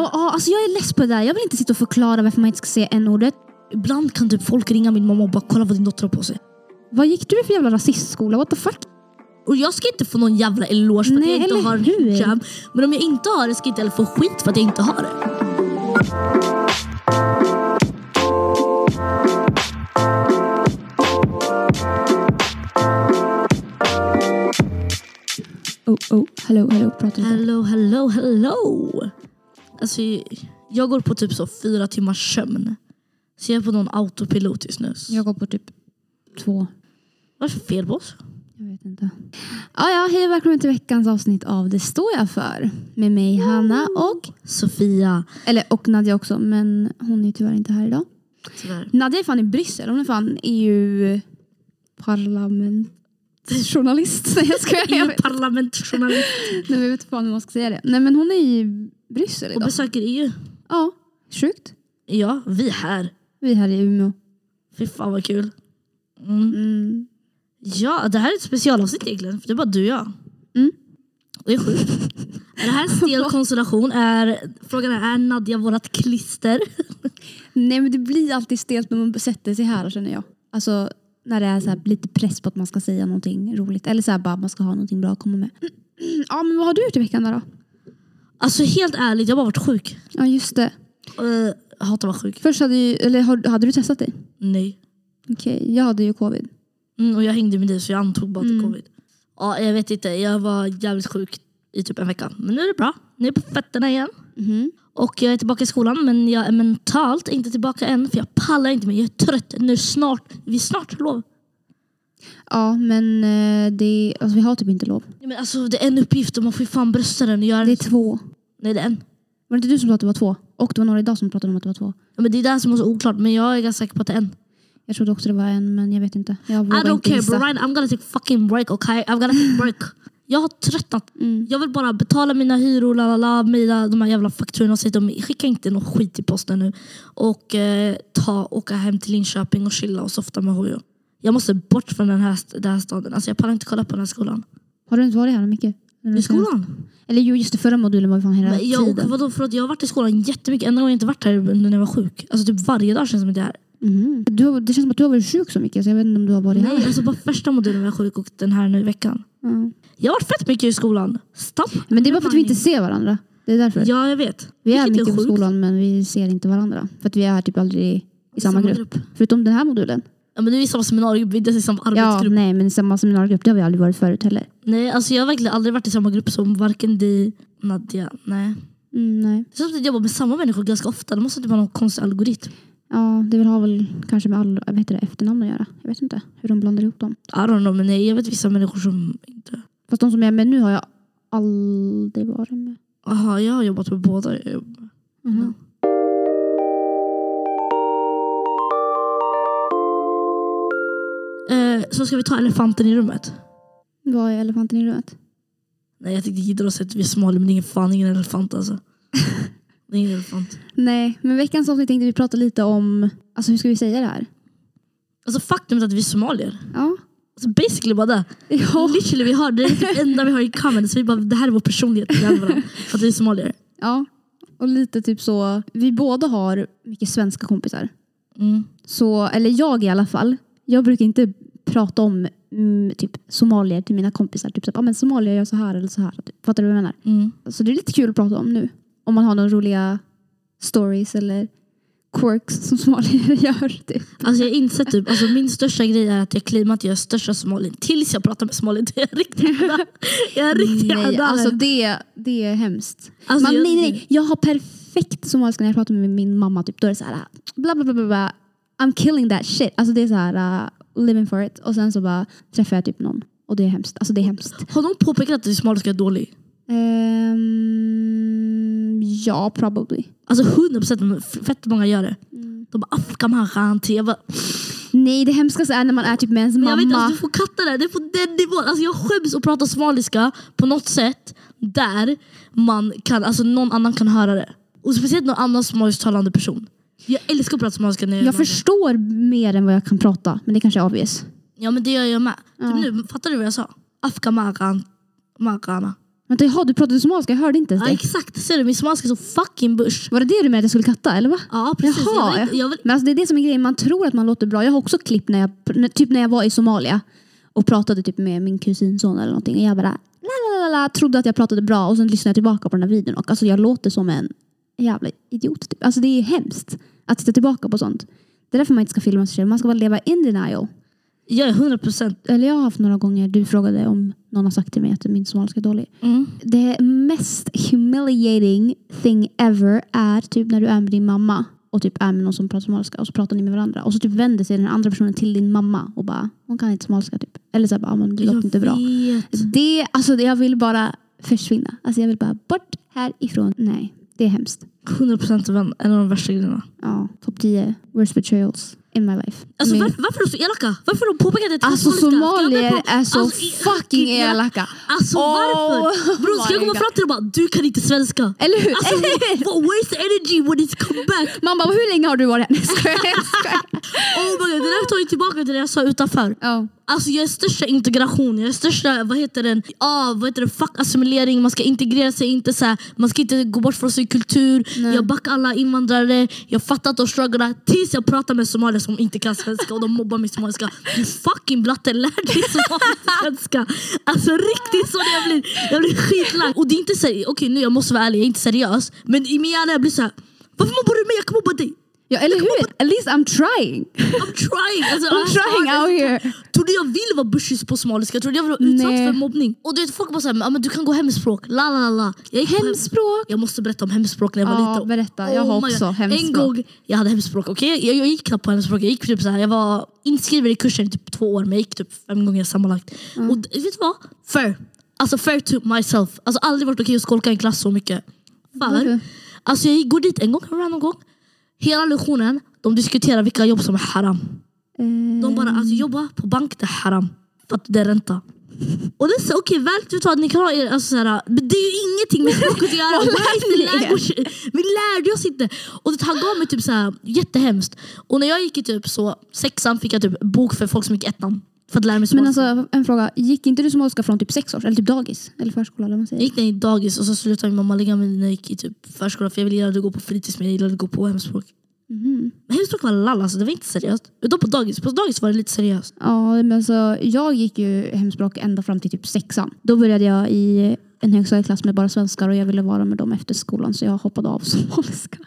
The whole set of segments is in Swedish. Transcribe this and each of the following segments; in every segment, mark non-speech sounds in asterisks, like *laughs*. alltså jag är less på det där. Jag vill inte sitta och förklara varför man inte ska säga n-ordet. Ibland kan typ folk ringa min mamma och bara kolla vad din dotter har på sig. Vad gick du för jävla rasistskola? What the fuck? Och jag ska inte få någon jävla eloge för att Nej, jag inte eller har hur? hijab. Men om jag inte har det ska jag inte heller få skit för att jag inte har det. Oh, oh, hallå, hallå, pratar inte. Hello, hello, hello. Alltså, jag går på typ så fyra timmars sömn. Så jag är på någon autopilot just nu. Jag går på typ två. Vad är det för fel på oss? Jag vet inte. Ah, ja, hej och välkommen till veckans avsnitt av Det står jag för. Med mig Hanna och, Sofia, eller och Nadja också, men hon är tyvärr inte här idag. tyvärr. Nadja är fan i Bryssel, hon är fan EU-parlamentsjournalist. *laughs* Nej jag skojar, jag vet, EU-parlamentsjournalist. nej, jag vet inte fan hur man ska säga det. Nej men hon är i Bryssel Och idag. besöker EU. Ja, sjukt. Ja, vi här. Vi här i Umeå. Fy fan vad kul. Mm. Mm. Ja, det här är ett specialavsnitt egentligen. För det är bara du och jag. Mm. Det är sjukt. Är *laughs* det här en stel konstellation? Är, frågan är, är Nadja vårt klister? Nej men det blir alltid stelt när man sätter sig här känner jag. Alltså när det är så här, lite press på att man ska säga någonting roligt. Eller så här, bara man ska ha någonting bra att komma med. *clears throat* Ja men vad har du gjort i veckan då? då? Alltså helt ärligt, jag har bara varit sjuk. Ja just det. Eh, jag hatar att vara sjuk. Först hade, ju, eller, har- hade du testat dig? Nej. Okej, jag hade ju covid. Mm, och jag hängde med dig så jag antog bara att det covid. Mm. Ja, jag vet inte, jag var jävligt sjuk i typ en vecka. Men nu är det bra. Nu är jag på fötterna igen. Mhm. Och jag är tillbaka i skolan men jag är mentalt inte tillbaka än för jag pallar inte mer. Jag är trött nu snart. Vi är snart lov. Ja men eh, det, alltså, vi har typ inte lov. Nej, men alltså, det är en uppgift och man får ju fan brösta den och göra Det är den. två. Nej, det är en. Var det inte du som sa att det var två? Och det var några idag som pratade om att det var två. Ja, men det är det här som är så oklart men jag är ganska säker på att det är en. Jag trodde också det var en men jag vet inte. Jag I vågar don't inte care gissa. bro, Ryan, I'm gonna take fucking break okay? I'm gonna take break. Jag har tröttnat. Mm. Jag vill bara betala mina hyror, la la la, mina, de här jävla fakturorna. och så vidare. De skickar inte någon skit i posten nu. Och eh, ta, åka hem till Linköping och chilla och softa med Hojo. Jag måste bort från den här, st- den här staden. Alltså jag pallar inte kolla på den här skolan. Har du inte varit här mycket? När du I senast- skolan? Eller jo, just det förra modulen var ju fan hela Men Jag, och Mm-hmm. tiden. vadå, förlåt, jag har varit i skolan jättemycket. Enda gången jag inte varit här är när jag var sjuk. Alltså typ varje dag känns det som att jag är här. Mhm. Du, har- det känns som att du har varit sjuk så mycket så jag vet inte om du har varit Nej, här. alltså bara första modulen var jag sjuk och den här nu i veckan. Mm. Jag har varit fett mycket i skolan. Stopp! Men det är bara för att vi inte ser varandra. Det är därför. Ja, jag vet. vi är Vilket mycket på sjukt. skolan men vi ser inte varandra. För att vi är typ aldrig i samma, grupp. Förutom den här modulen. Ja, men nu är vi i samma seminariegrupp, vi är inte ens i samma Ja, arbetsgrupp. nej men i samma seminariegrupp det har vi aldrig varit förut heller. Nej, alltså jag har verkligen aldrig varit i samma grupp som varken dig, Nadja. Nej. Mm, nej. Det känns som att jag jobbar med samma människor ganska ofta. Det måste typ vara någon konstig algoritm. Ja, det vill ha väl kanske med all, vad heter det, efternamn att göra. Jag vet inte hur de blandar ihop dem. I don't know, men nej, jag vet vissa människor som inte... Fast de som jag är med nu har jag aldrig varit med. Aha, jag har jobbat med båda. Mhm. Eh, så ska vi ta elefanten i rummet. Vad är elefanten i rummet? Nej, jag tänkte Jidra säga att vi är smala, men det är ingen fan ingen *laughs* elefant alltså. Det är ingen elefant. Nej, men veckans avsnitt tänkte vi prata lite om, alltså hur ska vi säga det här? Alltså faktumet att vi är somalier. Ja. *laughs* Alltså basically bara det. Ja. Literally vi har, det är typ det enda vi har i common. Så vi bara, det här är vår personlighet. vi har varandra. Att vi är somalier. Ja, och lite typ så. Vi båda har mycket svenska kompisar. Mm. Så, eller jag i alla fall. Jag brukar inte prata om mm, typ somalier till mina kompisar. Typ så här, ah, men somalier gör så här eller så här. Typ. Fattar du vad jag menar? Mm. Så det är lite kul att prata om nu. Om man har några roliga stories eller quirks som somalier *laughs* gör. Typ. Alltså jag inser typ, alltså min största grej är att jag claimar att jag är största somalien tills jag pratar med somalien. Jag är riktigt jävla- Jag är riktigt Nej, jävla- alltså det, det är hemskt. Alltså, Man, jag- nej, nej, jag har perfekt somaliska när jag pratar med min mamma. Typ, då är det så här, bla bla bla bla. bla I'm killing that shit. Alltså det är så här, uh, living for it. Och sen så bara träffar jag typ någon. Och det är hemskt. Alltså det är hemskt. Har någon påpekat att din somaliska är dålig? Ehm, ja, probably. Alltså 100% men f- fett många gör det. Mm. De bara afghan han shanti. Jag bara, Nej, det hemskaste är när man är typ med ens Men jag vet inte, mamma. alltså, du får katta det. Det är på den nivån. Alltså, jag skäms att prata somaliska på något sätt där man kan, alltså, någon annan kan höra det. Och speciellt någon annan somalisktalande person. Jag älskar att prata somaliska när jag, Jag gör något. förstår mer än vad jag kan prata. Men det kanske är obvious. Ja men det gör jag med. Typ nu, fattar du vad jag sa? Afka magana. Vänta, jaha, du pratade somaliska. Jag hörde inte ens det. Ja, exakt, ser du? Min smalska är så fucking bush. Var det det du menade att jag skulle katta, eller va? Ja, precis. Jaha. Jag vill, jag vill, Men alltså det är det som är grejen, man tror att man låter bra. Jag har också klipp när jag, när- typ när jag var i Somalia och pratade typ med min kusinson eller någonting. Och jag bara la, la, la, la, trodde att jag pratade bra och sen lyssnade jag tillbaka på den här videon och alltså jag låter som en jävla idiot. Typ. Alltså det är hemskt att titta tillbaka på sånt. Det är därför man inte ska filma sig själv. Man ska bara leva in denial. jag är 100 procent. Eller jag har haft några gånger, du frågade om någon har sagt till mig att min somaliska är dålig. Mm. Det mest humiliating thing ever är typ när du är med din mamma och typ är med någon som pratar somaliska och så pratar ni med varandra och så typ vänder sig den andra personen till din mamma och bara hon kan inte somaliska typ. Eller så här bara, "Ah, men det låter inte bra. vet. Det, alltså det- jag vill bara försvinna. Alltså jag vill bara bort härifrån. Nej, det är hemskt. 100 procent en en av de värsta grejerna. Ja, topp 10 worst betrayals in my life. Alltså, Men- var, varför är de så elaka? Varför har de påpekat att det är alltså somaliska? Ska somalier jag börja på- är så Alltså, i- fucking elaka. Alltså Oh varför? Bror, ska jag my komma God. fram till dem och bara du kan inte svenska? Eller hur? Alltså, what, what, where's the energy when it's come back? Man bara, hur länge har du varit här? *laughs* Nej, skojar, jag skojar. Oh my God, det där tar ju tillbaka till det jag sa utanför. Ja. Alltså jag är största integration, jag är största vad heter den? Ah, vad heter det? Fuck assimilering, man ska integrera sig, inte så här, man ska inte gå bort från sin kultur. Jag backar alla invandrare, jag fattar att de strugglar tills jag pratar med somalier som inte kan svenska och de mobbar mig somaliska. Du fucking blatte, lär dig somalisk svenska. Alltså riktigt så jag blir. Jag blir skitlack. Och det är inte så här- okej nu jag måste vara ärlig, jag är inte seriös. Men i min hjärna jag blir så här, varför mobbar du mig? Jag kan mobba dig. Ja, eller hur? At least I'm trying. I'm trying! Alltså, I'm trying out here. Trodde jag ville vara bushis på somaliska? Trodde jag ville vara utsatt Nej. för mobbning? Och du vet, folk bara såhär, "Ja, men du kan gå hemspråk, la la la, la. Jag gick på Hemspråk. jag måste berätta om hemspråk när jag var Ja, liten. Oh berätta. Jag har my också God. En hemspråk. gång jag hade hemspråk, okej? Jag, jag gick knappt på hemspråk. Jag, gick typ så här, jag var inskriven i kursen i typ två år, men jag gick typ fem gånger sammanlagt. Och d- vet du vad? Fair. Alltså fair to myself. Alltså aldrig varit okej att skolka i en klass så mycket. För, Varför? alltså jag gick- går dit en gång, en random gång. Hela lektionen, de diskuterar vilka jobb som är haram. Eh, De bara, alltså jobba på bank det är haram. För att det är ränta. Och det är så okej, väl att ni kan ha er, alltså såhär, men det är ju ingenting med språket att *laughs* göra. Vad lär ni er? Language, vi lärde oss inte. Och det, han gav mig typ såhär, jättehemskt. Och när jag gick i typ så sexan fick jag typ bok för folk som gick i ettan. För att lära mig Men småska. alltså en fråga, gick inte du somaliska från typ sex års eller typ dagis? Eller förskola eller vad man Jag säger? gick ner i dagis och så slutade min mamma lägga mig när jag gick i typ förskola för jag ville gillade att gå på fritids men jag gillade att gå på hemspråk. Mhm. Men hemspråk var lall alltså, det var inte seriöst. Utom på dagis, på dagis var det lite seriöst. Ja, men alltså jag gick ju hemspråk ända fram till typ sexan. Då började jag i en högstadieklass med bara svenskar och jag ville vara med dem efter skolan så jag hoppade av *laughs* somaliska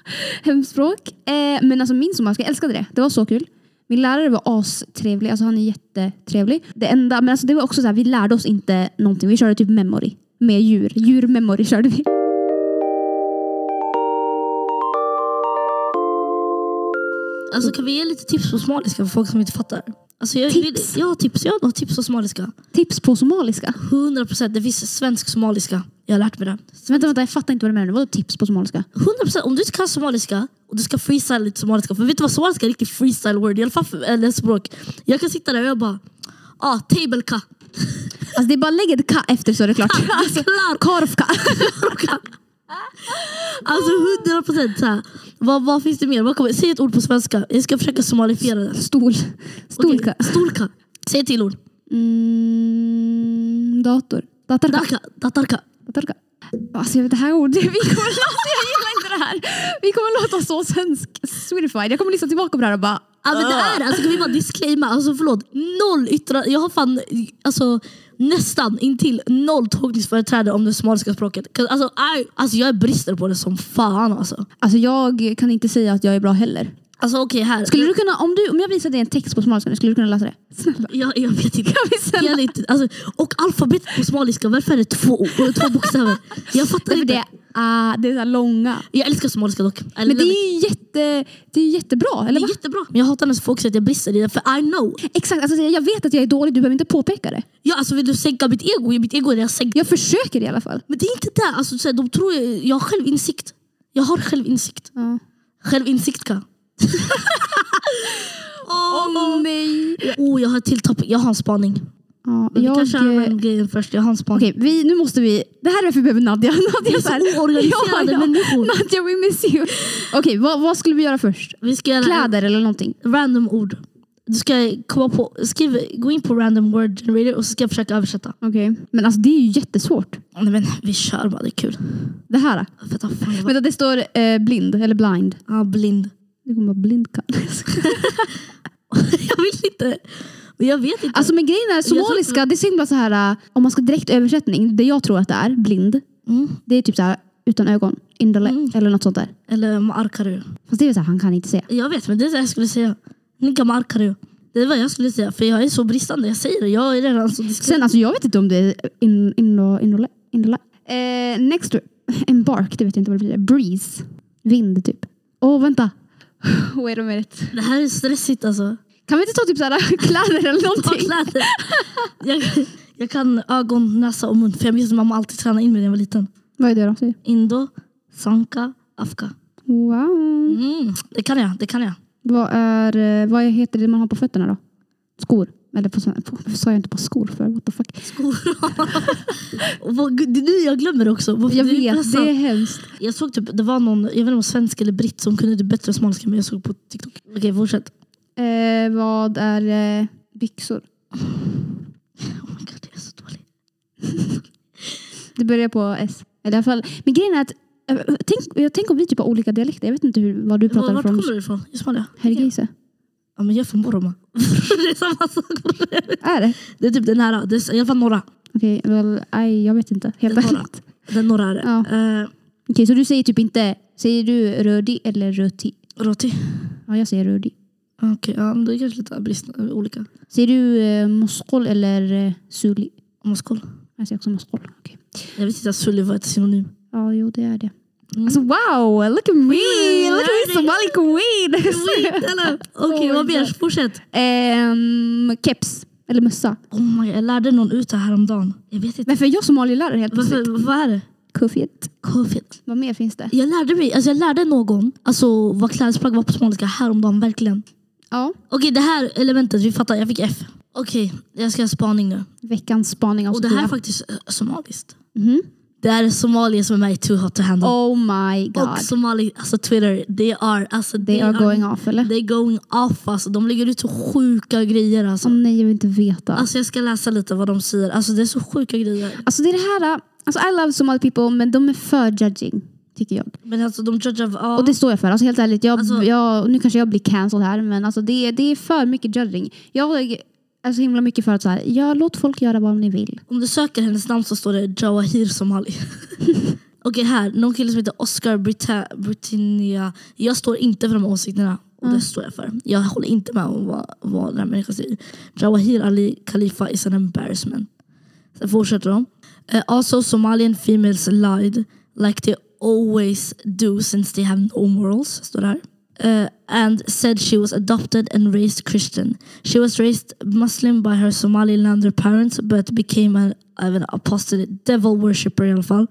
hemspråk. Eh, men alltså min somaliska, jag älskade det. Det var så kul. Min lärare var astrevlig, alltså han är jättetrevlig. Det enda, men alltså det var också så här, vi lärde oss inte någonting. Vi körde typ memory med djur. Djurmemory *laughs* körde vi. Alltså kan vi ge lite tips på somaliska för folk som inte fattar? Alltså, jag, Tips? Vill, ja, tips. Jag har tips på somaliska. Tips på somaliska. 100% det finns svensk somaliska. Jag har lärt mig det. Så Vänta, vänta, jag fattar inte vad du menar. Vadå tips på somaliska? 100% om du inte kan somaliska och du ska freestyla lite somaliska. För vet du vad somaliska är? Riktigt freestyle word. I alla fall för eller språk. Jag kan sitta där och jag bara, ah, tabelka. Alltså det är bara lägg ett ka efter så är det klart. Alltså, Klar. *laughs* korvka. Alltså 100% så här. Vad, vad finns det mer? Vad kommer, säg ett ord på svenska. Jag ska försöka somalifiera det. Stol. Okej, Stolka. Stolka. Säg ett till ord. Mm, dator. Datorka. Darka. Datarka. Datorka. Alltså jag vet, det här ordet, vi kommer låta, jag gillar inte det här. Vi kommer låta så svensk swedified. Jag kommer lyssna tillbaka på det här och bara... Ja men det Ah. är alltså kan vi bara disclaima, alltså förlåt, noll yttrande, jag har fan alltså, nästan intill noll tolkningsföreträde om det somaliska språket. 'Cause, Alltså, I, alltså jag brister på det som fan alltså. Alltså jag kan inte säga att jag är bra heller. Alltså okej här, Skulle du kunna, om, du, om jag visade dig en text på somaliska nu, skulle du kunna läsa det? Snälla. jag, jag vet inte. Kan vi snälla? Jag vet inte. Alltså, och alfabetet på somaliska, varför är det två, ord- två bokstäver? Jag fattar Därför inte. det, ah, det är så här långa. Jag älskar somaliska dock. I Men love det it. är ju jätte, det är jättebra, det eller va? är jättebra, men jag hatar när folk säger att jag brister i det, för I know. Exakt, alltså, jag vet att jag är dålig, du behöver inte påpeka det. Jag, alltså, vill du sänka mitt ego? Mitt ego är redan sänkt. Jag försöker i alla fall. Men det är inte det. Alltså, så här, de tror jag, jag har självinsikt. Jag har självinsikt. Ja. *laughs* Självinsikt kan. Åh nej! Oh, jag har ett till topp. Jag har en spaning. Ja, Men jag, Vi kanske har den grejen först. Jag har en spaning. Okej, vi, nu måste vi... Det här är varför vi behöver Nadja. *laughs* Nadja är *laughs* så oorganiserade människor. Nadja, we miss you. Okej, vad, vad skulle vi göra först? Vi ska göra Kläder eller någonting? random ord. Du ska komma på, skriv, gå in på random word generator och så ska jag försöka översätta. Okej. Men alltså det är ju jättesvårt. Nej men vi kör bara, det är kul. Det här. För att, fan, jag var, Vänta, det står eh, blind eller blind. ah, blind. *laughs* Det kommer vara blind katt. jag vill inte. Men jag vet inte. Alltså men grejen är, somaliska, det är så himla så här, eh, om man ska direkt översättning, det jag tror att det är, blind, Mm. det är typ så här utan ögon, indole, Mm. eller något sånt där. Eller markaru. Fast det är så här, han kan inte se. Jag vet, men det är det jag skulle säga. Nika markaru. Det är vad jag skulle säga, för jag är så bristande. Jag säger det, jag är redan så diskret. Sen alltså jag vet inte om det är in, indo, indole, indole. Eh, next to, embark, det vet jag inte vad det blir. Breeze, vind typ. Åh *sighs* vänta. Wait a minute. Det här är stressigt alltså. Kan vi inte ta typ så här *laughs* kläder eller Ta någonting? kläder. Jag, jag kan ögon, näsa och mun, för jag minns att mamma alltid tränade in mig när jag var liten. Vad är det då? Säg. Indo, sanka, afka. Wow. Mm, det kan jag, det kan jag. Vad, är, eh, vad heter det man har på fötterna då? Skor. Eller på, sån- på, varför sa jag inte bara skor för? What the fuck? Skor. *laughs* Och vad- det är nu jag glömmer också. Varför Jag det är vet, pressat. det är hemskt. Jag såg typ, det var någon, jag vet inte om det var svensk eller britt som kunde det bättre än somaliska men jag såg på TikTok. Okej, fortsätt. Eh, vad är eh, byxor? Oh my god, jag är så dålig. Det börjar på S. Eller i alla fall. Men grejen är att eh, Tänk, jag tänk om vi typ har olika dialekter. Jag vet inte hur, vad du Var, pratar vart från. kommer du ifrån? I Somalia? Hergeisa. Ja men jag är från Boroma. *laughs* det är samma sak. Är det? Det är typ den här, det är, i alla fall norra. Okej, well, aj, jag vet inte. Helt Det är norra. ärligt. Den norra är det. Ja. Eh, Okej, så du säger typ inte, säger du rödi eller röti? Roti. Ja, jag säger rödi. Okej, ja, men det är kanske lite brist, eh, olika. Säger du eh, moskol eller eh, suli? Moskol. Jag säger också moskol. Okej. Jag visste inte att Sully var ett synonym. Ja, jo det är det. Mm. Alltså wow, look at me! Look at me Somali queen! Wait, eller? *laughs* Okej, Oh my vad mer? God. Fortsätt. *laughs* Ehm, keps, eller mössa. Oh my, jag lärde någon ut det här om dagen. Jag vet inte. Varför är jag somalielärare helt plötsligt? Varför, vad är det? Kufiet. Covid. Vad mer finns det? Jag lärde mig, alltså jag lärde någon alltså vad klädesplagg var på somaliska häromdagen, verkligen. Ja, Okej, det här elementet, vi fattar, jag fick F. Okej, jag ska ha spaning nu. veckans spaning av Och det här är Sofia. faktiskt eh, somaliskt. Mhm. Det här är somalier som är med i Too Hot To Handle. Oh my god. Och somali, alltså Twitter, they are, alltså, They are going off eller? They going off alltså. De lägger ut så sjuka grejer alltså. Åh nej, jag vill inte veta. Alltså jag ska läsa lite vad de säger. Alltså det är så sjuka grejer. Alltså det är det här, alltså I love Somali people men de är för judging. Tycker jag. Men alltså de judgar... Ja. Och det står jag för. Alltså helt ärligt, jag, Alltså- jag, nu kanske jag blir cancelled här men alltså det, det är för mycket judging. Jag är så himla mycket för att så här, ja, låt folk göra vad ni vill. Om du söker hennes namn så står det Jawahir Somali. Okej här, någon kille som heter Oscar Brita- Britannia. Jag står inte för de här åsikterna. Och det står jag för. Jag håller inte med om vad, vad den här människan säger. Jawahir Ali Khalifa is an embarrassment. Sen fortsätter de. Eh, also Somalian females lied like they always do since they have no morals. Står det här. Eh, and said she was adopted and raised Christian. She was raised Muslim by her Somalilander parents but became an, of an apostate devil worshipper i alla fall.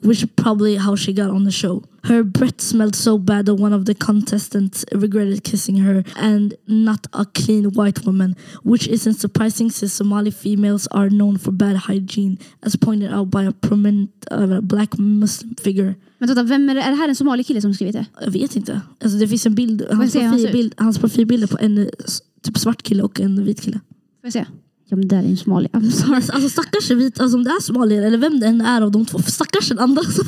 Which probably how she got on the show. Her breath smelled so bad that one of the contestants regretted kissing her and not a clean white woman. Which isn't surprising since Somali females are known for bad hygiene as pointed out by a prominent uh, black Muslim figure. Men vänta, vem är, det, är det här en somali kille som skrivit det? Jag vet inte. Alltså det finns en bild, hans, ser han profilbild, ut? hans profilbilder på en eh, s- typ svart kille och en vit kille. Får jag se? Ja men där är en somali. *laughs* I'm sorry. Alltså, alltså stackars vit, alltså om det är somalier eller vem det än är av de två, för stackars den andra. som-